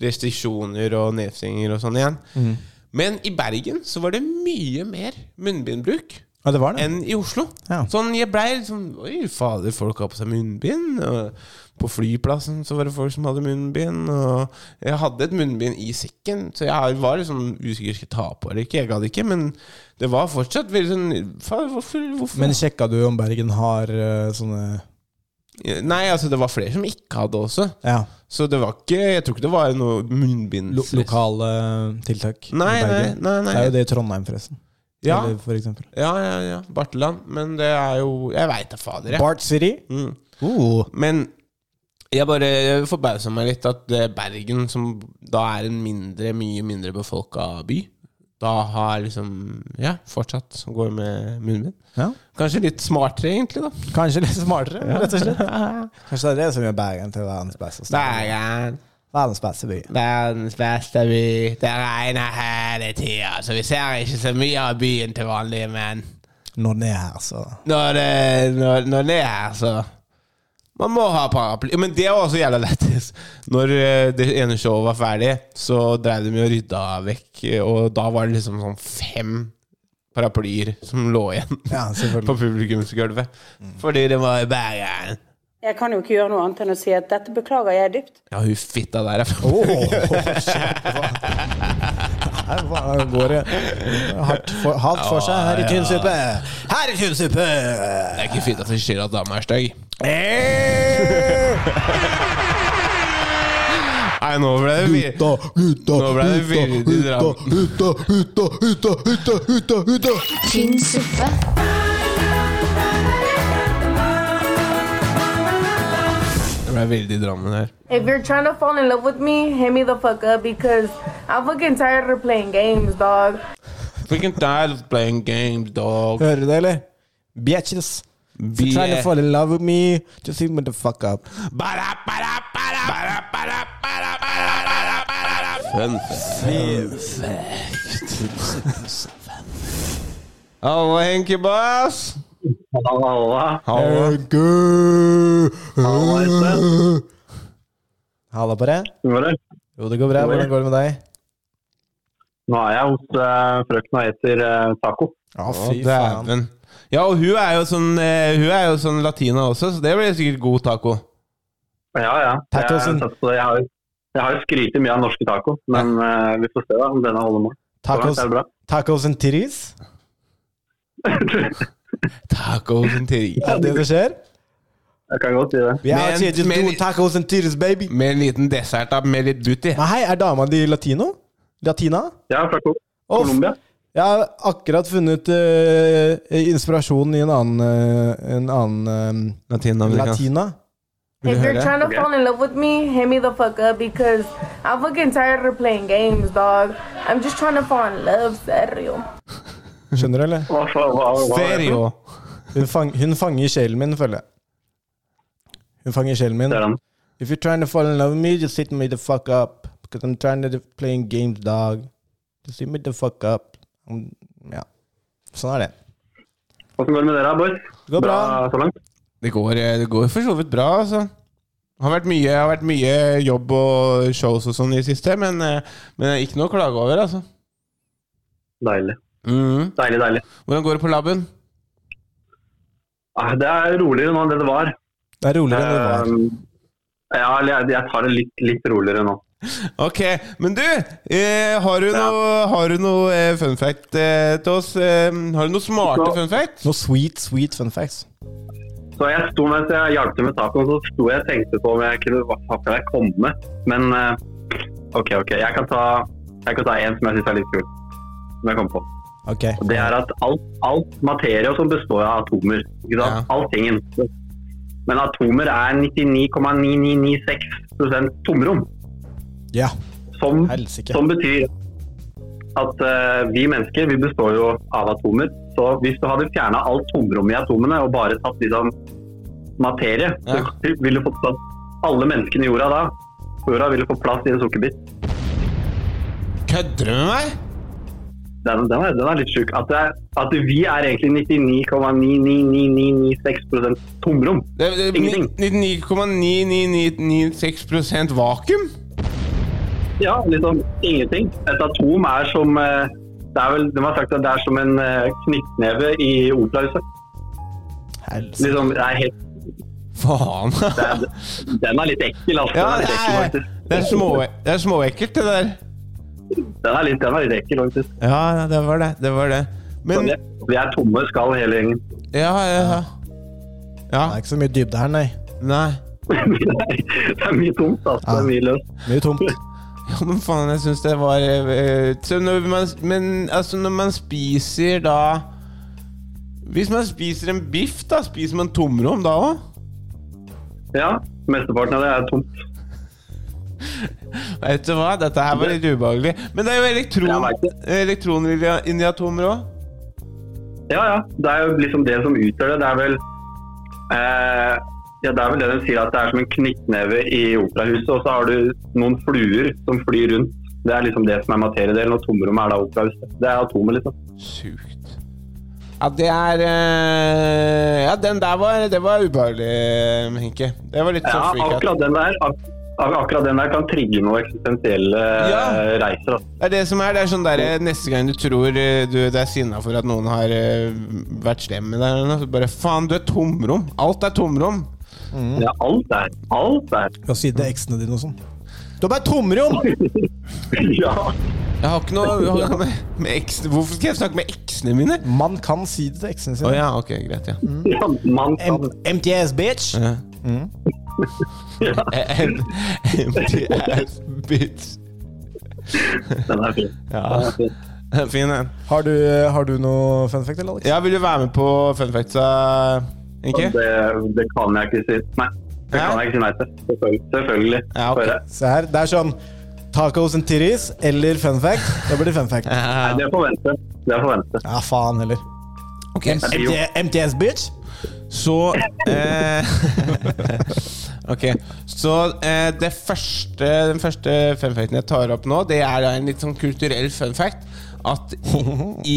Speaker 3: restriksjoner og nedstenginger og sånn igjen. Men i Bergen så var det mye mer munnbindbruk
Speaker 2: Ja, det var det.
Speaker 3: enn i Oslo.
Speaker 2: Ja.
Speaker 3: Sånn, jeg blei liksom Oi, fader, folk har på seg munnbind. Og på flyplassen så var det folk som hadde munnbind. Og jeg hadde et munnbind i sekken, så jeg var liksom usikker skulle ta på eller ikke. Jeg gadd ikke, men det var fortsatt veldig sånn Fader, hvorfor, hvorfor?
Speaker 2: Men sjekka du om Bergen har eh, sånne
Speaker 3: Nei, altså, det var flere som ikke hadde også.
Speaker 2: ja,
Speaker 3: Så det var ikke Jeg tror ikke det var noe munnbind
Speaker 2: lo lokale tiltak? i
Speaker 3: Nei, nei,
Speaker 2: Bergen?
Speaker 3: nei, nei.
Speaker 2: Det er jo det i Trondheim, forresten.
Speaker 3: Ja.
Speaker 2: Eller for eksempel.
Speaker 3: Ja, ja, ja. Barteland. Men det er jo Jeg veit da fader, jeg.
Speaker 2: Bart City.
Speaker 3: Mm.
Speaker 2: Uh.
Speaker 3: Men jeg bare forbausa meg litt at eh, Bergen, som da er en mindre, mye mindre befolka by, da har liksom Ja, fortsatt går med munnbind.
Speaker 2: Ja.
Speaker 3: Kanskje litt smartere, egentlig, da.
Speaker 2: Kanskje litt smartere, rett og slett. Kanskje det er det som gjør Bergen til verdens beste sted.
Speaker 3: [LAUGHS] Bergen,
Speaker 2: Verdens beste by.
Speaker 3: verdens beste by. Det regner hele tida, så vi ser ikke så mye av byen til vanlige menn.
Speaker 2: Når den er her, så
Speaker 3: Når det, når, når det er så Man må ha paraply. Men det var også jævla lættis. Når eh, det ene showet var ferdig, så dreiv de og rydda vekk, og da var det liksom sånn fem paraplyer som lå igjen
Speaker 2: [LAUGHS] Ja, selvfølgelig. Mm.
Speaker 3: på publikumsgulvet. Fordi det var i Bergen.
Speaker 7: Jeg kan jo ikke gjøre noe annet enn å si at dette beklager jeg dypt.
Speaker 3: Ja, hun fitta der er fra
Speaker 2: Åh,
Speaker 3: [LAUGHS]
Speaker 2: kjempebra. Her var- går det hardt for, hardt for seg her i Tynnsuppe. Her i Tynnsuppe!
Speaker 3: Det er ikke fitta som sier at dama er stygg.
Speaker 2: Eh.
Speaker 3: Nei, nå ble det vi-
Speaker 2: Gutta, gutta,
Speaker 3: Nå ble det veldig
Speaker 2: gutta,
Speaker 3: drama.
Speaker 2: gutta, gutta, gutta, gutta, gutta, gutta.
Speaker 1: tynn suppe,
Speaker 3: Det ble veldig Drammen her.
Speaker 4: If you're trying to fall in love with me, hit me the fuck up because I'm fucking tired of playing games, dog.
Speaker 3: Freaking tired of playing games, dog.
Speaker 2: Hører du det, eller? Bitches. If you're Trying to fall in love with me. Just hit me the fuck up.
Speaker 3: Bara, bara, bara, bara, bara, bara, bara, bara, bara. Fun fact. Hallo, Henke Bass.
Speaker 8: Halla.
Speaker 3: Hallo.
Speaker 8: Halla,
Speaker 2: Halla på deg.
Speaker 8: Ytter.
Speaker 2: Jo, det går bra. Hvordan går det med deg?
Speaker 8: Nå er jeg hos uh, frøkna og etter eh, taco.
Speaker 2: Ja,
Speaker 3: Å, dæven. Ja, og hun er, jo sånn, eh, hun er jo sånn latina også, så det blir sikkert god taco.
Speaker 8: Ja, ja. Jeg,
Speaker 2: Tacosen.
Speaker 8: altså, jeg har jeg har jo skrytt mye av norske taco, men eh, vi får se da, om denne holder mål. Så langt
Speaker 2: Tacos,
Speaker 8: er det bra. [LAUGHS]
Speaker 2: tacos and titties?
Speaker 3: Taco sin teri.
Speaker 2: Er det det som skjer?
Speaker 8: jeg kan godt si det.
Speaker 2: Vi
Speaker 3: Men-
Speaker 2: er here just
Speaker 3: men-
Speaker 2: doing tacos and titties, baby.
Speaker 3: Med en liten dessert da, med litt butti.
Speaker 2: Men hei, er dama di latino? Latina?
Speaker 8: Jeg er fra Col-
Speaker 2: Å,
Speaker 8: Colombia.
Speaker 2: Jeg har akkurat funnet eh, inspirasjon i en annen, eh, en annen eh,
Speaker 3: Latin.
Speaker 2: latina.
Speaker 4: If
Speaker 3: heard
Speaker 4: you're
Speaker 3: that?
Speaker 4: trying to
Speaker 8: Okay.
Speaker 4: fall in love with me, hit me the fuck up because I'm fucking tired of playing games, dog. I'm just trying to fall in love, serio.
Speaker 2: Skjønner du, eller?
Speaker 8: Hva, hva, hva, hva er det for noe?
Speaker 3: Serio.
Speaker 2: Hun, fang, hun fanger sjelen min, føler jeg. Hun fanger sjelen min.
Speaker 8: Der er han.
Speaker 2: If you're trying to fall in love with me, just sit me the fuck up. Because I'm trying to play games, dog. Just sit me the fuck up. Mm, Ja. Sånn er det.
Speaker 8: Hvordan går det med dere, boys?
Speaker 2: Det går bra.
Speaker 8: så langt?
Speaker 3: Det går, eh, det går for så vidt bra, altså. Det har vært mye, har vært mye jobb og shows og sånn i det siste, men, eh, men ikke noe å klage over, altså.
Speaker 8: Deilig.
Speaker 3: Mhm.
Speaker 8: Deilig, deilig.
Speaker 3: Hvordan går det på laben?
Speaker 8: Ah, Det er roligere nå enn det det var.
Speaker 2: Det er roligere enn det var.
Speaker 8: Eh, ja, eller jeg, jeg tar det litt, litt roligere nå.
Speaker 3: Ok, men du, eh, har du
Speaker 8: Ja.
Speaker 3: noe, har du noe eh, fun fact eh, til oss? Eh, har du noe smarte
Speaker 8: Ja.
Speaker 3: fun fact?
Speaker 2: Noe sweet, sweet fun facts.
Speaker 8: Så jeg sto mens jeg hjalp til med tacoen, så sto jeg og tenkte på om jeg kunne hva faen kan jeg komme med. Men eh, OK, OK. Jeg kan ta, jeg kan ta en som jeg syns er litt kul. Som jeg kom på.
Speaker 2: Ok.
Speaker 8: Og Det er at alt, alt materie som består av atomer. Ikke sant?
Speaker 3: Ja.
Speaker 8: All tingen. Men atomer er 99,9996 tomrom.
Speaker 2: Ja.
Speaker 8: Som,
Speaker 2: Helsike.
Speaker 8: som betyr at eh, vi mennesker vi består jo av atomer. Så hvis du hadde fjerna alt tomrommet i atomene og bare tatt liksom materie,
Speaker 3: Ja.
Speaker 8: så ville du fått plass alle menneskene i jorda da. På jorda ville fått plass i en sukkerbit.
Speaker 3: Kødder du med meg?
Speaker 8: Den, den, er, den er litt sjuk. At, det er- at vi er egentlig 99,99996 tomrom.
Speaker 3: Det, det,
Speaker 8: Ingenting.
Speaker 3: 99,99996 vakuum?
Speaker 8: Ja, liksom ingenting. Et atom er som eh, det er vel, De har sagt at det er som en eh, knyttneve i operahuset.
Speaker 2: Helsike.
Speaker 8: Liksom, det er helt
Speaker 3: Faen.
Speaker 8: Det er, den er litt ekkel,
Speaker 3: [LAUGHS]
Speaker 8: altså.
Speaker 3: Ja, det
Speaker 8: den, er litt ekkel,
Speaker 3: er,
Speaker 8: faktisk.
Speaker 3: det er små- det er småekkelt, det der.
Speaker 8: Den er litt, den er litt ekkel, faktisk.
Speaker 3: Ja, det var det. Det var det.
Speaker 8: Så
Speaker 3: Men
Speaker 8: det- Vi er tomme skall hele gjengen. [LAUGHS]
Speaker 3: Ja, ja, ja.
Speaker 2: Det
Speaker 3: ja
Speaker 2: er ikke så mye dybde her, nei.
Speaker 3: nei. [LAUGHS]
Speaker 8: det er mye tomt, altså. Det er mye løst.
Speaker 2: Mye tomt.
Speaker 3: Ja, men faen, jeg syns det var eh, så når man, Men altså, når man spiser da Hvis man spiser en biff, da, spiser man tomrom da òg?
Speaker 8: Ja, mesteparten av det er tomt.
Speaker 3: Vet du hva, dette her var litt ubehagelig. Men det er jo elektron,
Speaker 8: Jeg vet
Speaker 3: elektroner i- inni atomer òg.
Speaker 8: Ja, ja. Det er jo liksom det som utgjør det. Det er vel eh, ja, det er vel det de sier, at det er som en knyttneve i operahuset, og så har du noen fluer som flyr rundt. Det er liksom det som er materiedelen, og tomrommet er da operahuset. Det er atomet, liksom.
Speaker 3: Sjukt. Ja, det er eh, Ja, den der var, det var ubehagelig, Henke. Det var litt
Speaker 8: Ja,
Speaker 3: sånn freak out.
Speaker 8: akkurat den der, ak ak akkurat den der kan trigge noen eksistensielle eh,
Speaker 3: Ja.
Speaker 8: reiser, altså.
Speaker 3: Det er det som er. Det er sånn der, eh, Neste gang du tror eh, du det er sinna for at noen har eh, vært slem med deg, eller noe, så bare faen, du er tomrom. Alt er tomrom.
Speaker 9: Mm.
Speaker 8: Ja, alt er Alt er
Speaker 2: Fra siden av eksene dine og sånn. Du har bare et tomrom!
Speaker 8: [LAUGHS] Ja.
Speaker 9: Jeg har ikke noe jeg har
Speaker 3: [LAUGHS]
Speaker 9: ikke med, med eksene Hvorfor skal jeg snakke med eksene mine?
Speaker 2: Man kan si det til eksene
Speaker 9: Å
Speaker 2: sine.
Speaker 9: ja, ok, greit, ja.
Speaker 8: ja man kan
Speaker 2: M- MTS,
Speaker 9: [LAUGHS]
Speaker 2: bitch!
Speaker 9: ja. En empty ass bitch.
Speaker 8: Den er fin.
Speaker 9: Ja,
Speaker 8: Den er fin.
Speaker 9: den er [LAUGHS] fin, den.
Speaker 2: Har du, eh, har du noe fun fact, eller, Alex?
Speaker 9: Ja, vil du være med på fun facts, eh, Inki?
Speaker 8: Det, det kan jeg ikke si nei. Det
Speaker 9: Hæ?
Speaker 8: kan jeg ikke si nei til. Selvfølgelig. Selvfølgelig.
Speaker 9: Ja, ok.
Speaker 8: Bare-
Speaker 2: Se her. Det er sånn tacos and titties eller fun fact. Da blir det fun fact.
Speaker 8: Nei, det er forventet. Det er forventet.
Speaker 2: Ja, faen heller.
Speaker 9: Ok,
Speaker 8: Jo.
Speaker 2: MT- MTS, bitch!
Speaker 9: så eh, [LAUGHS] Ok, så eh, det første, den første fun facten jeg tar opp nå, det er da en litt sånn kulturell fun fact. At i, i,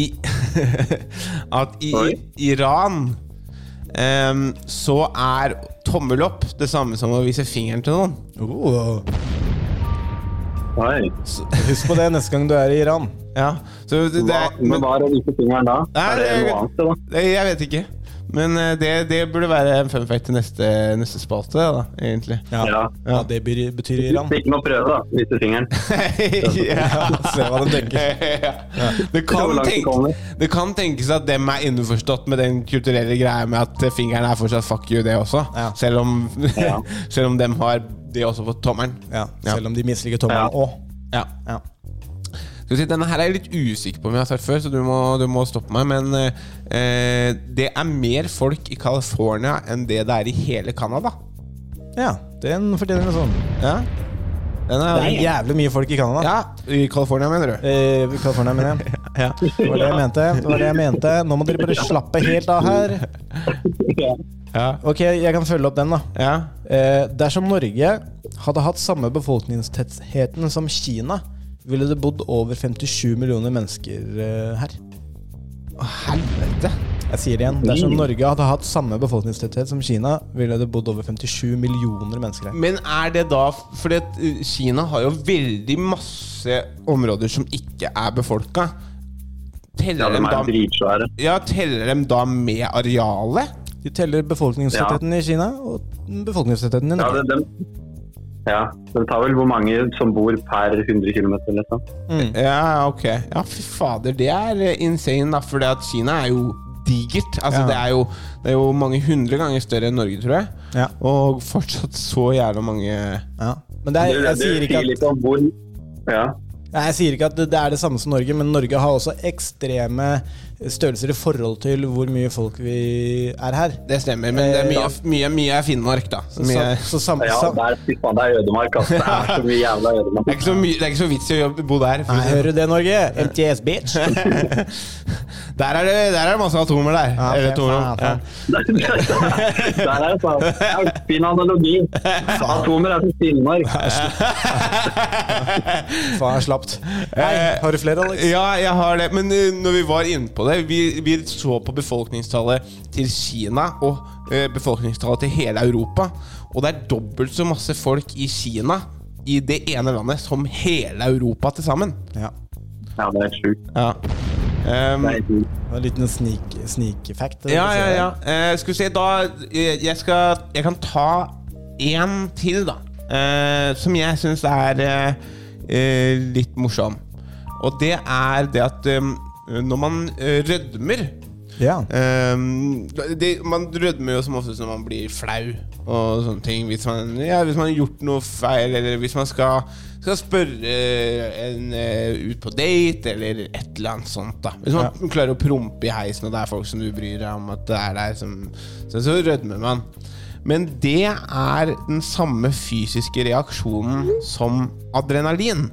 Speaker 9: [LAUGHS] at i
Speaker 8: Oi.
Speaker 9: Iran em, så er tommel opp det samme som å vise fingeren til noen.
Speaker 2: Oh.
Speaker 8: Oi.
Speaker 2: Husk på det neste gang du er i Iran.
Speaker 9: Ja, så det, det,
Speaker 8: Hva,
Speaker 9: er-
Speaker 8: men hva er det vise fingeren da?
Speaker 9: Nei,
Speaker 8: Er det
Speaker 9: det-
Speaker 8: noe annet, da?
Speaker 9: Det, jeg vet ikke. Men eh, det, det burde være en fun fact til neste, neste spalte, da, egentlig.
Speaker 8: Ja.
Speaker 2: Ja, det byr- betyr Iran.
Speaker 8: Ikke noe prøve, da. Vise fingeren. [LAUGHS]
Speaker 9: [LAUGHS] ja.
Speaker 2: Se hva den tenker.
Speaker 9: [LAUGHS] Ja. Det,
Speaker 8: Hvor
Speaker 9: kan
Speaker 8: langt det kommer.
Speaker 9: tenke, det kan tenkes at dem er innforstått med den kulturelle greia med at eh, fingeren er fortsatt fuck you, det også.
Speaker 2: Ja.
Speaker 9: Selv, om,
Speaker 8: Ja.
Speaker 9: [LAUGHS] selv om dem har det også på tommelen.
Speaker 2: Ja, selv om de misliker tommelen
Speaker 8: Ja.
Speaker 2: òg.
Speaker 9: Ja.
Speaker 2: Ja.
Speaker 9: Skal vi si, Denne her er jeg litt usikker på om jeg har sagt før, så du må, du må stoppe meg. Men eh, eh, det er mer folk i California enn det det er i hele Canada.
Speaker 2: ja, den fortjener en sånn.
Speaker 9: Ja. Den
Speaker 2: Det
Speaker 9: er,
Speaker 2: er jævlig mye folk i Canada.
Speaker 9: ja, I California, mener du?
Speaker 2: Eh, California, mener jeg.
Speaker 9: Ja.
Speaker 2: Det var det jeg mente. Det var det jeg mente. Nå må dere bare slappe helt av her.
Speaker 9: Ja.
Speaker 2: Ok, jeg kan følge opp den, da.
Speaker 9: ja.
Speaker 2: Eh, dersom Norge hadde hatt samme befolkningstettheten som Kina, ville det bodd over 57 millioner mennesker eh, her.
Speaker 9: Å, helvete.
Speaker 2: Jeg sier det igjen. Dersom Norge hadde hatt samme befolkningstetthet som Kina, ville det bodd over 57 millioner mennesker her.
Speaker 9: Men er det da For det, eh, Kina har jo veldig masse områder som ikke er befolka.
Speaker 8: Ja,
Speaker 9: Teller,
Speaker 8: de
Speaker 9: dem
Speaker 8: er
Speaker 9: da,
Speaker 8: dritsvære.
Speaker 9: ja, teller dem da med arealet?
Speaker 2: De teller befolkningstettheten i Kina og befolkningstettheten i
Speaker 8: Ja,
Speaker 2: Norge.
Speaker 8: det, dem- ja, de tar vel hvor mange som bor per 100 km, liksom.
Speaker 9: Ja, ok. Ja, fy fader, det er eh, insane, da. For at Kina er jo digert. Altså,
Speaker 2: Ja.
Speaker 9: det, er jo, det er jo mange hundre ganger større enn Norge, tror jeg.
Speaker 2: Ja.
Speaker 9: Og fortsatt så jævla mange
Speaker 2: Ja. Men det er,
Speaker 8: Det-
Speaker 2: jeg,
Speaker 8: det
Speaker 2: sier ikke
Speaker 8: sier
Speaker 2: at,
Speaker 8: litt om hvor ja.
Speaker 2: nei, jeg sier ikke at det det er det samme som Norge, men Norge har også ekstreme størrelser i forhold til hvor mye folk vi er her.
Speaker 9: Det stemmer, men det er mye,
Speaker 2: Eh,
Speaker 9: mye, mye er Finnmark, da. Så mye,
Speaker 2: [LAUGHS]
Speaker 9: [LAUGHS]
Speaker 2: Så, så sam,
Speaker 8: ja,
Speaker 2: sam,
Speaker 8: der, fy faen, det er ødemark, ass. Det er så mye jævla
Speaker 3: [LAUGHS]
Speaker 8: ødemark.
Speaker 9: det, er ikke så mye, det er ikke så vits i å jobbe- bo der. for å
Speaker 2: nei,
Speaker 9: si det
Speaker 2: hører du det, Norge? MTS, bitch! Ja,
Speaker 9: sånn. der, er det, der er det masse atomer der. Eller
Speaker 2: faen,
Speaker 9: atomrom.
Speaker 2: faen.
Speaker 8: Der er altså. det sånn. Ja, Fin analogi. Atomer er som Finnmark.
Speaker 9: Ja.
Speaker 2: Faen, jeg er slapt. Nei, har du flere, Alex?
Speaker 9: Ja, jeg har det. Men eh, når vi var inne på det Vi, vi så på befolkningstallet til Kina og eh, befolkningstallet til hele Europa. Og det er dobbelt så masse folk i Kina, i det ene landet, som hele Europa til sammen.
Speaker 2: Ja.
Speaker 8: Ja, det er sjukt.
Speaker 9: Ja. Um,
Speaker 8: Det er sjukt.
Speaker 2: Det var En liten sneak, sneak fact.
Speaker 9: ja, ja, ja. Eh, skal vi se, da eh, Jeg skal Jeg kan ta én til, da. Eh, som jeg syns er eh, eh, litt morsom. Og det er det at eh, når man eh, rødmer
Speaker 2: Ja.
Speaker 9: Ehm, det, man rødmer jo som oftest når man blir flau og sånne ting. Hvis man, ja, hvis man har gjort noe feil, eller hvis man skal, skal spørre en eh, ut på date, eller et eller annet sånt. da Hvis man klarer å prompe i heisen, og det er folk som du bryr deg om at det er der, som, så, så rødmer man. Men det er den samme fysiske reaksjonen som adrenalin.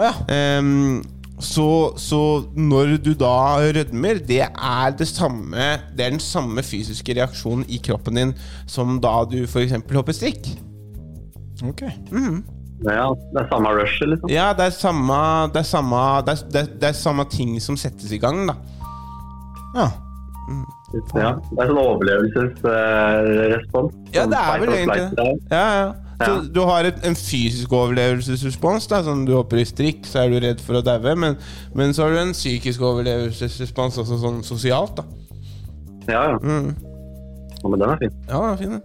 Speaker 2: Å ja.
Speaker 9: Ehm, så, så når du da rødmer, det er, det, samme, det er den samme fysiske reaksjonen i kroppen din som da du f.eks. hopper strikk.
Speaker 2: Ok.
Speaker 8: Ja, det er samme rushet, liksom.
Speaker 9: Ja, det er samme, det er samme, det er, det er, det er samme ting som settes i gang, da.
Speaker 2: Ja.
Speaker 8: Ja, det er sånn overlevelsesrespons.
Speaker 9: Ja, det er vel egentlig det. Ja, ja. Så
Speaker 8: Ja.
Speaker 9: du har et, en fysisk overlevelsesrespons. Da, sånn Du hopper i strikk, så er du redd for å daue. Men, men så har du en psykisk overlevelsesrespons også sånn sosialt. da
Speaker 8: Ja, ja. Ja, men den er fin.
Speaker 9: Ja, den er fin den.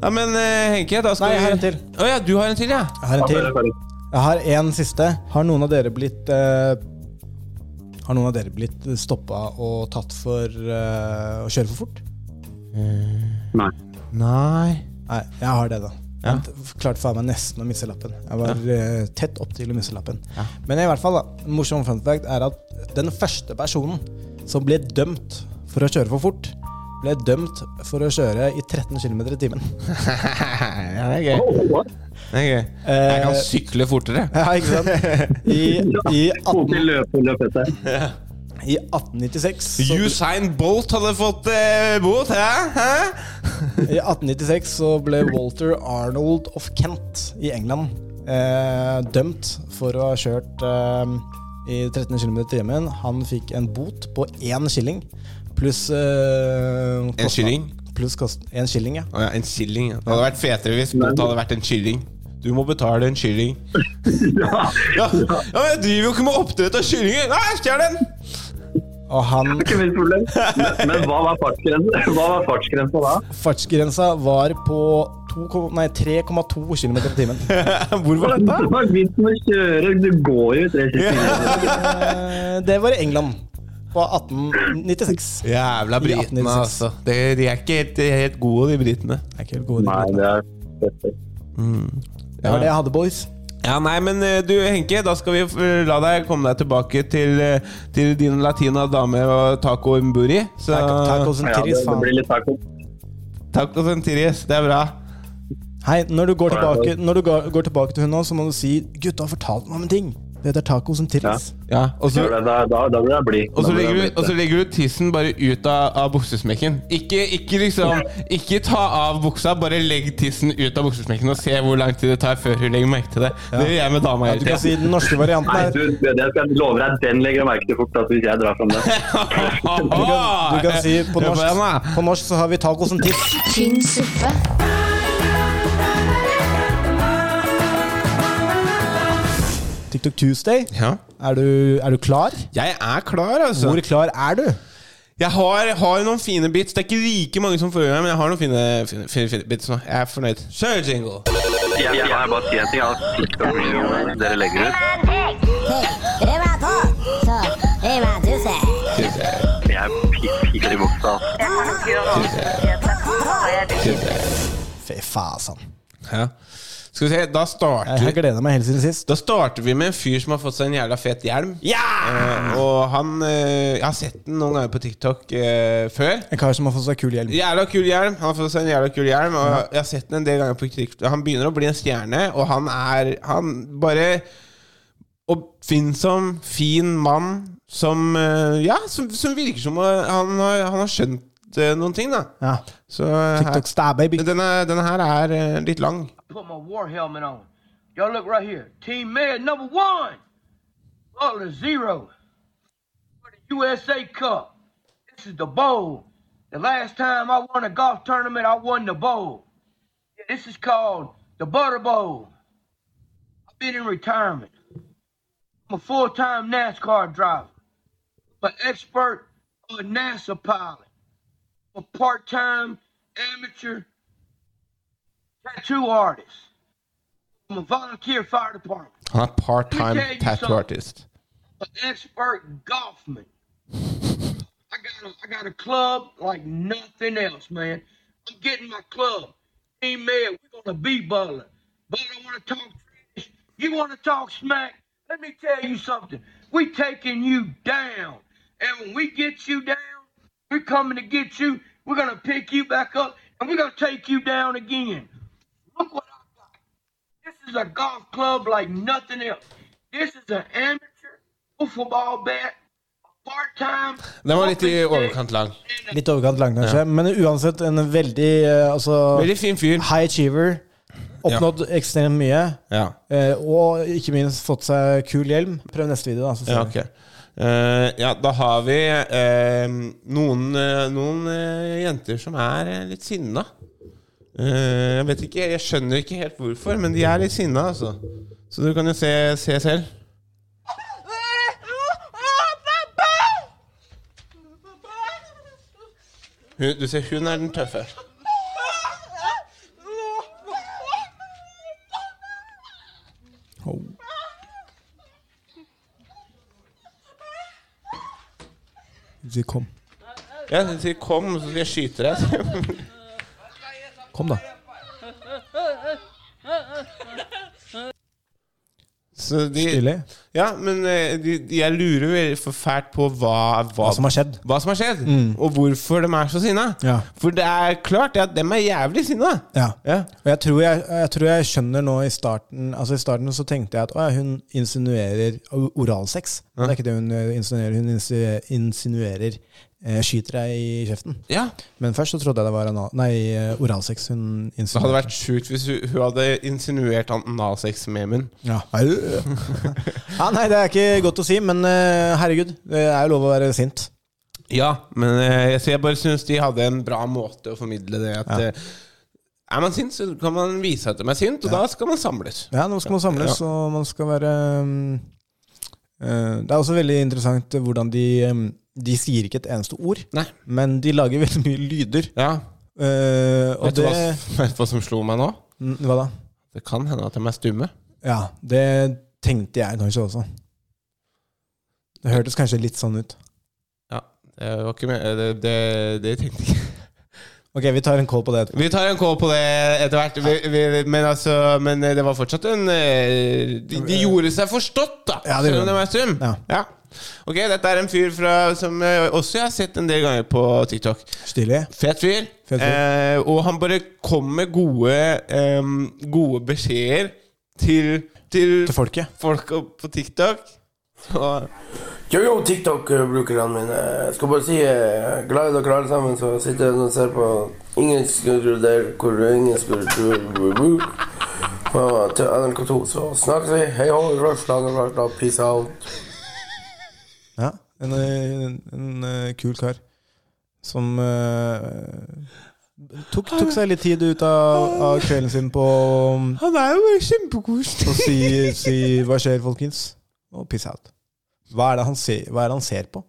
Speaker 9: Ja, men eh, Henke, da skal
Speaker 2: Nei, jeg har
Speaker 9: vi-
Speaker 2: en til.
Speaker 9: Å ja, du har en til, ja?
Speaker 2: Jeg har en til.
Speaker 8: Sorry, sorry.
Speaker 2: Jeg har en siste. Har noen av dere blitt eh, Har noen av dere blitt stoppa og tatt for eh, å kjøre for fort?
Speaker 8: Nei.
Speaker 9: [LAUGHS] Nei.
Speaker 2: Nei, jeg har det, da.
Speaker 9: Ja.
Speaker 2: Jeg klarte faen meg nesten å misse lappen. Jeg var eh, tett opp til å misse lappen. Men i hvert fall, da. En morsom fun fact er at den første personen som ble dømt for å kjøre for fort, ble dømt for å kjøre i 13 km i timen. [LAUGHS]
Speaker 9: ja, det er gøy.
Speaker 8: Oh, what?
Speaker 9: Det er gøy.
Speaker 2: Eh,
Speaker 9: Jeg kan sykle fortere.
Speaker 2: Ja, ikke sant? I, i,
Speaker 8: Kom
Speaker 2: 18,
Speaker 8: til løpet, løpet etter.
Speaker 2: i 1896 så-
Speaker 9: Usain Bolt hadde fått eh, bot, hæ? hæ?
Speaker 2: I 1896 så ble Walter Arnold of Kent i England eh, dømt for å ha kjørt eh, i 13 km i timen. Han fikk en bot på én skilling pluss eh, kostnad-
Speaker 9: skilling?
Speaker 2: Pluss kost, en skilling, ja.
Speaker 9: Å ja, en shilling. ja. Det hadde vært fetere hvis bot hadde vært en shilling. Du må betale en shilling.
Speaker 8: [LAUGHS] Ja.
Speaker 9: Ja, ja, men jeg driver jo ikke med oppdrett av kyllinger! Nei, stjel den! [LAUGHS]
Speaker 2: Og han,
Speaker 8: Ikke mitt problem. Men, men hva var fartsgrensen Hva var fartsgrensen da?
Speaker 2: fartsgrensa var på 2,0 nei, 3,2 km i timen.
Speaker 9: Hvor var dette?
Speaker 8: Hva er vitsen med å kjøre? Du går jo i 30 km.
Speaker 2: Eh, det var i England på 1896.
Speaker 9: Jævla
Speaker 2: I
Speaker 9: britene,
Speaker 2: 1896.
Speaker 9: altså. De, de er ikke helt, de er helt gode, de britene.
Speaker 2: Det er ikke helt gode
Speaker 8: Nei,
Speaker 2: nyheter.
Speaker 8: det er dette.
Speaker 2: Det var det jeg hadde, boys.
Speaker 9: Ja, nei, men eh, du Henke, da skal vi eh, la deg komme deg tilbake til, eh, til din latina dame og taco mburi. Så,
Speaker 2: Taco- Eh, Tacos and
Speaker 8: Ja, det,
Speaker 2: titties,
Speaker 8: det blir
Speaker 2: faen.
Speaker 8: litt taco.
Speaker 9: Tacos and titties, det er bra.
Speaker 2: Hei, når du går tilbake, når du går, går tilbake til hun nå, så må du si 'gutta har fortalt meg om en ting'. Det heter tacos and titties.
Speaker 9: Ja, og så,
Speaker 8: Gjør det, Da, da, da blir jeg blid.
Speaker 9: og
Speaker 8: Da
Speaker 9: så
Speaker 8: blir jeg
Speaker 9: legger, du,
Speaker 8: blid.
Speaker 9: og så legger du tissen bare ut av, av buksesmekken. Ikke, ikke liksom Ikke ta av buksa, bare legg tissen ut av buksesmekken og se hvor lang tid det tar før hun legger merke til det. Det gjør jeg med dama
Speaker 2: Du
Speaker 9: hele
Speaker 2: kan si
Speaker 9: tida.
Speaker 2: den norske varianten
Speaker 8: Nei,
Speaker 2: her.
Speaker 8: du, det skal jeg love deg, den legger jeg merke til fort altså, hvis jeg drar fram det.
Speaker 2: Du kan,
Speaker 9: [LAUGHS]
Speaker 2: du kan si på
Speaker 9: Hør på den,
Speaker 2: norsk,
Speaker 9: da.
Speaker 2: på norsk så har vi tacos and tits.
Speaker 1: tynn suppe,
Speaker 2: TikTok Tuesday.
Speaker 9: Ja.
Speaker 2: Er du, er du klar?
Speaker 9: Jeg er klar, altså.
Speaker 2: Hvor klar er du?
Speaker 9: Jeg har, har noen fine bits. Det er ikke like mange som forrige gang, men jeg har noen fine, fine, fine, fine bits nå. Jeg er fornøyd. Kjør jingle!
Speaker 8: Jeg, jeg, jeg bare si en ting. Altså, TikTok-videoene dere legger ut, jeg piker i buksa.
Speaker 2: Fy fasan.
Speaker 9: Ja. Skal vi se, da
Speaker 2: Jeg har
Speaker 9: starter,
Speaker 2: gleda meg helt siden sist.
Speaker 9: da starter vi med en fyr som har fått seg en jævla fet hjelm. Eh, og han eh, Jeg har sett den noen ganger på TikTok eh, før.
Speaker 2: En kar som har fått seg kul hjelm.
Speaker 9: Jævla kul hjelm. Han har fått seg en jævla kul hjelm. Og jeg har sett den en del ganger på TikTok. Han begynner å bli en stjerne, og han er Han bare oppfinnsom, fin mann som eh, Ja, som, som virker som eh, han har, han har skjønt eh, noen ting, da.
Speaker 2: Ja.
Speaker 9: Så eh, her,
Speaker 2: TikTok stab, baby.
Speaker 9: denne, denne her er eh, litt lang.
Speaker 3: put my war helmet on. Y'all look right here. Team Med number one. Butler zero. For the USA Cup. This is the bowl. The last time I won a golf tournament, I won the bowl. Yeah, This is called the Butter Bowl. I've been in retirement. I'm a full-time NASCAR driver. I'm an expert on NASA pilot. I'm a part-time amateur tattoo artist. I'm a volunteer fire department.
Speaker 9: Han er part-time
Speaker 3: Let me tell you
Speaker 9: tattoo
Speaker 3: something.
Speaker 9: artist.
Speaker 3: an expert golfman. I got a, I got a club like nothing else, man. I'm getting my club. Team Med, we're gonna be butler. But I wanna talk trash. You wanna talk smack? Let me tell you something. We taking you down. And when we get you down, we're coming to get you. We're gonna pick you back up and we're gonna take you down again. Look what I got. This is a golf club like nothing else. This is an amateur football bat, a part-time.
Speaker 9: Den var litt i overkant lang.
Speaker 2: Litt overkant lang, kanskje. Men uansett en veldig eh, altså,
Speaker 9: Veldig fin fyr.
Speaker 2: high achiever. Oppnådd ekstremt mye.
Speaker 9: Ja.
Speaker 2: Eh, og ikke minst fått seg kul hjelm. Prøv neste video, da. Så ser
Speaker 9: Ja,
Speaker 2: vi.
Speaker 9: ok. Eh, ja, da har vi eh, noen, eh, noen eh, jenter som er eh, litt sinna. Eh, jeg vet ikke, jeg skjønner ikke helt hvorfor, men de er litt sinna, altså. Så du kan jo se, se selv. Hun, du ser, hun er den tøffe.
Speaker 2: Si kom.
Speaker 9: Ja, de sier 'kom, så skal jeg skyte deg'.
Speaker 2: Kom, da.
Speaker 9: Så de,
Speaker 2: Stilig.
Speaker 9: Ja, men eh, de, de, jeg lurer veldig for fælt på hva,
Speaker 2: Hva som har skjedd. Mm.
Speaker 9: Hva som har skjedd Og hvorfor de er så sinna.
Speaker 2: Ja.
Speaker 9: For det er klart det at dem er jævlig sinna.
Speaker 2: Ja.
Speaker 9: Ja.
Speaker 2: Og jeg tror jeg, jeg tror jeg skjønner nå i starten Altså I starten så tenkte jeg at å, ja, hun insinuerer o- oralsex. Men Det er ikke det hun eh, insinuerer. Hun insi- insinuerer eh, skyter deg i kjeften.
Speaker 9: Ja.
Speaker 2: Men først så trodde jeg det var anal nei, eh, oralsex hun
Speaker 9: Det hadde
Speaker 2: insinuerte.
Speaker 9: vært sjukt hvis hun, hun hadde insinuert analsex med munn.
Speaker 2: Ja. [LAUGHS] ja, nei, det er ikke godt å si, men eh, herregud, det er jo lov å være sint.
Speaker 9: Ja, men eh, jeg- så jeg bare syns de hadde en bra måte å formidle det at eh, Er man sint, så kan man vise at de er sint, og da skal man samles.
Speaker 2: Ja, nå skal man samles, og man skal være um, eh, Det er også veldig interessant hvordan de um, De sier ikke et eneste ord,
Speaker 9: Nei.
Speaker 2: men de lager [LAUGHS] veldig mye lyder.
Speaker 9: Ja.
Speaker 2: Eh, og
Speaker 9: Vet du
Speaker 2: det
Speaker 9: hva, vet du hva som [LAUGHS] slo meg nå?
Speaker 2: N- Hva da?
Speaker 9: Det kan hende at de er stumme.
Speaker 2: Ja, det tenkte jeg kanskje også. Det hørtes kanskje litt sånn ut.
Speaker 9: Ja, det var ikke med, det, det, det tenkte jeg ikke.
Speaker 2: Ok, vi tar en call på det etterpå.
Speaker 9: Vi tar en kål på det etter hvert. Vi, vi, men, altså, men det var fortsatt en eh, De, de gjorde seg forstått, da!
Speaker 2: Ja, det gjorde
Speaker 9: selv om de
Speaker 2: de.
Speaker 9: er stum.
Speaker 2: Ja.
Speaker 9: Ok, dette er en fyr fra, som jeg også har sett en del ganger på TikTok.
Speaker 2: Stilig.
Speaker 9: Fet fyr.
Speaker 2: Fet fyr.
Speaker 9: Eh, og han bare kom med gode, eh, gode beskjeder til, til,
Speaker 2: Til folket.
Speaker 9: folk opp på TikTok. Så,
Speaker 3: Yo, yo, TikTok-brukerne mine. Jeg skal bare si eh, glad i dere alle sammen som sitter og ser på. Ingen skulle tro der hvor ingen skulle tro bu, bu. På til NRK2. Så snakkes vi. Hei hå, Rushland, Rushland, peace out.
Speaker 2: Ja, en, eh, en, eh, kul kar som eh, tok, tok seg litt tid ut av, av kvelden sin på um,
Speaker 9: han er jo bare kjempekoselig.
Speaker 2: Og si, si 'hva skjer, folkens?' og 'peace out'. Hva er det han ser, hva er det han ser på?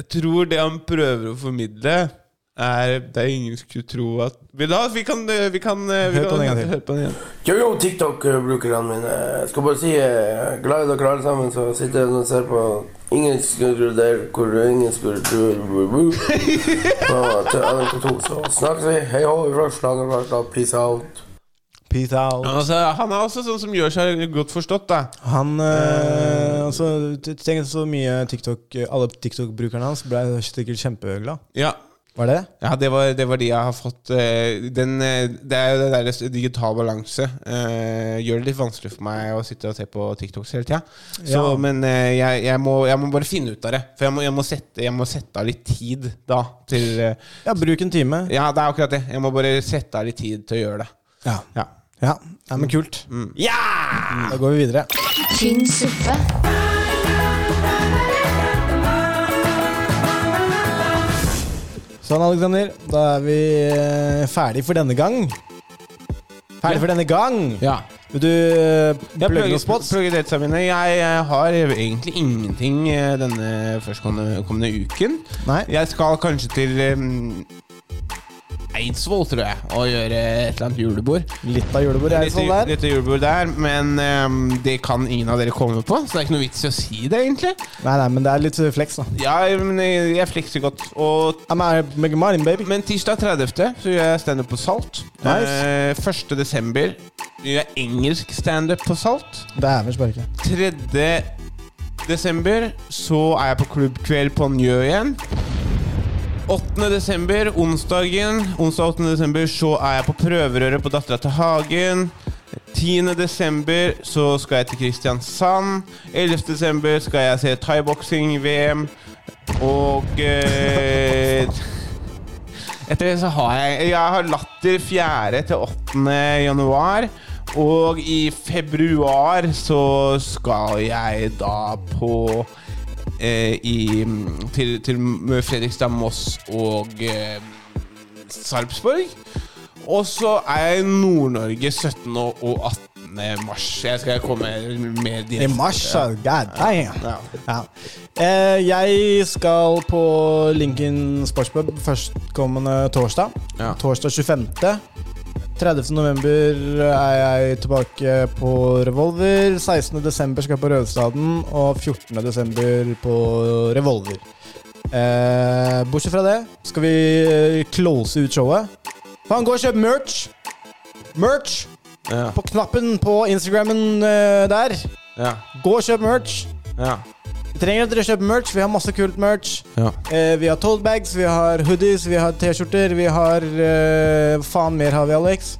Speaker 9: Jeg tror det han prøver å formidle, er Det er ingen skulle tro at Vi, la, vi kan, eh, vi kan, vi
Speaker 2: Hør på
Speaker 9: kan
Speaker 2: den en gang til.
Speaker 9: høre på den igjen.
Speaker 3: Yo, yo, eh, TikTok-brukerne mine. Jeg skal bare si eh, glad i dere alle sammen som sitter og ser på. Ingen skulle tro der hvor ingen skulle tro bu,
Speaker 9: [LAUGHS]
Speaker 3: bu. På til NRK2. Så snakkes vi. Hei hå, Rushland, Rushland, peace out.
Speaker 2: Peace out.
Speaker 9: Altså, han er også sånn som gjør seg godt forstått, da.
Speaker 2: Han eh, altså, t- Tenk så mye TikTok Alle TikTok-brukerne hans ble sikkert kjempeglad.
Speaker 9: Ja.
Speaker 2: Var det det?
Speaker 9: Ja, det var, det var de jeg har fått eh, den, eh, Det er jo det der digital balanse. eh, gjør det litt vanskelig for meg å sitte og se på TikToks hele tida.
Speaker 2: Ja.
Speaker 9: Men eh, jeg, jeg, må, jeg må bare finne ut av det. For jeg må, jeg må, sette, jeg må sette av litt tid da til eh,
Speaker 2: Ja, bruk en time.
Speaker 9: Ja, det er akkurat det. Jeg må bare sette av litt tid til å gjøre det.
Speaker 2: Ja. Mm.
Speaker 9: Ja. Mm.
Speaker 2: ja. Nei, men kult. Da går vi videre.
Speaker 1: tynn suppe,
Speaker 2: Sånn, Alexander. Da er vi eh, ferdig for denne gang. Ferdig for denne gang!
Speaker 9: Ja.
Speaker 2: Vil du eh,
Speaker 9: Jeg
Speaker 2: plugge
Speaker 9: plugger,
Speaker 2: noen spots?
Speaker 9: plugger data mine. Jeg eh, har egentlig ingenting eh, denne førstkommende kommende uken.
Speaker 2: Nei.
Speaker 9: Jeg skal kanskje til em, Eidsvoll, tror jeg, og gjøre et eller annet julebord.
Speaker 2: Litt av julebordet er
Speaker 9: Litt,
Speaker 2: det sånn der.
Speaker 9: litt julebord der, men em, det kan ingen av dere komme på, så det er ikke noe vits i å si det, egentlig.
Speaker 2: Nei, nei, men det er litt eh, flex, da.
Speaker 9: Ja, men eh, jeg, jeg flekser godt. Og
Speaker 2: I'm out of making money, baby.
Speaker 9: Men tirsdag 30. så gjør jeg standup på Salt.
Speaker 2: Nice.
Speaker 9: Eh, 1. desember gjør jeg engelsk standup på Salt.
Speaker 2: Dæven sparke.
Speaker 9: 3. desember så er jeg på klubbkveld på Njø igjen. 8. desember, onsdagen, onsdag 8. desember så er jeg på prøverøret på Dattera til Hagen. 10. desember så skal jeg til Kristiansand. 11. desember skal jeg se thaiboksing-VM. Og eh, Etter det så har jeg Jeg har latter 4. til 8. januar. Og i februar så skal jeg da på eh, i, til, til Fredrikstad, Moss og eh, Sarpsborg. Og så er jeg i Nord-Norge 17. og og 18. mars. Jeg skal komme med
Speaker 2: I
Speaker 9: direkte.
Speaker 2: mars, så god damn.
Speaker 9: Ja.
Speaker 2: Ja. Eh, jeg skal på Lincoln Sportspub førstkommende torsdag.
Speaker 9: Ja.
Speaker 2: Torsdag 25. 30. november er jeg tilbake på Revolver. 16. desember skal jeg på Røverstaden, og 14. desember på Revolver. Eh, bortsett fra det skal vi eh, close ut showet. Faen, gå og kjøp merch! Merch! På knappen på Instagrammen eh, der.
Speaker 9: Ja.
Speaker 2: Gå og kjøp merch.
Speaker 9: Ja.
Speaker 2: Vi trenger at dere kjøper merch. Vi har masse kult merch.
Speaker 9: Ja.
Speaker 2: Eh, vi har tollbags, vi har hoodies, vi har T-skjorter, vi har eh, Hva faen mer har vi, Alex?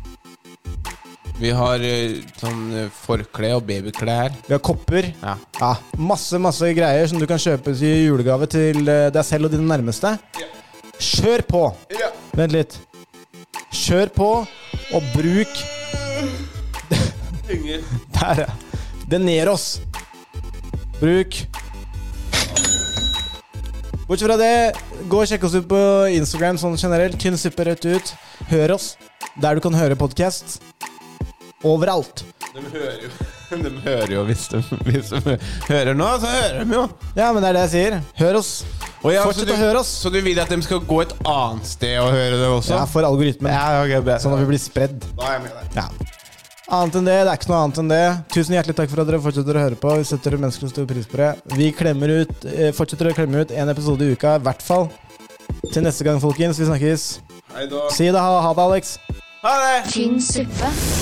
Speaker 9: Vi har eh, sånn eh, forkle og babyklær.
Speaker 2: Vi har kopper.
Speaker 9: Ja.
Speaker 2: Ja, masse masse greier som du kan kjøpe i julegave til eh, deg selv og dine nærmeste. Kjør på! Vent litt. Kjør på, og bruk Der, ja. Deneros. Bruk Bortsett fra det, gå og sjekk oss ut på Instagram sånn generelt. Tynn suppe rett ut. Hør oss der du kan høre podkast. Overalt.
Speaker 9: De hører jo, [LAUGHS] de hører jo hvis, de, hvis de hører nå, så hører de jo.
Speaker 2: Ja, men det er det jeg sier. Hør oss.
Speaker 9: Og ja,
Speaker 2: Fortsett
Speaker 9: så du-
Speaker 2: å høre oss.
Speaker 9: Så du vil at de skal gå et annet sted og høre det også?
Speaker 2: Ja, for algoritmen.
Speaker 9: Ja, ok, bra.
Speaker 2: Sånn at vi blir spredd.
Speaker 9: Da er jeg med deg.
Speaker 2: Ja. Annet enn det, det er ikke noe annet enn det. Tusen hjertelig takk for at dere fortsetter å høre på. Vi setter menneskelig stor pris på det. Vi klemmer ut, eh, fortsetter å klemme ut én episode i uka, i hvert fall. Til neste gang, folkens. Vi snakkes.
Speaker 9: Hei da.
Speaker 2: Si det. Ha, ha det, Alex.
Speaker 9: Ha det!
Speaker 1: tynn suppe.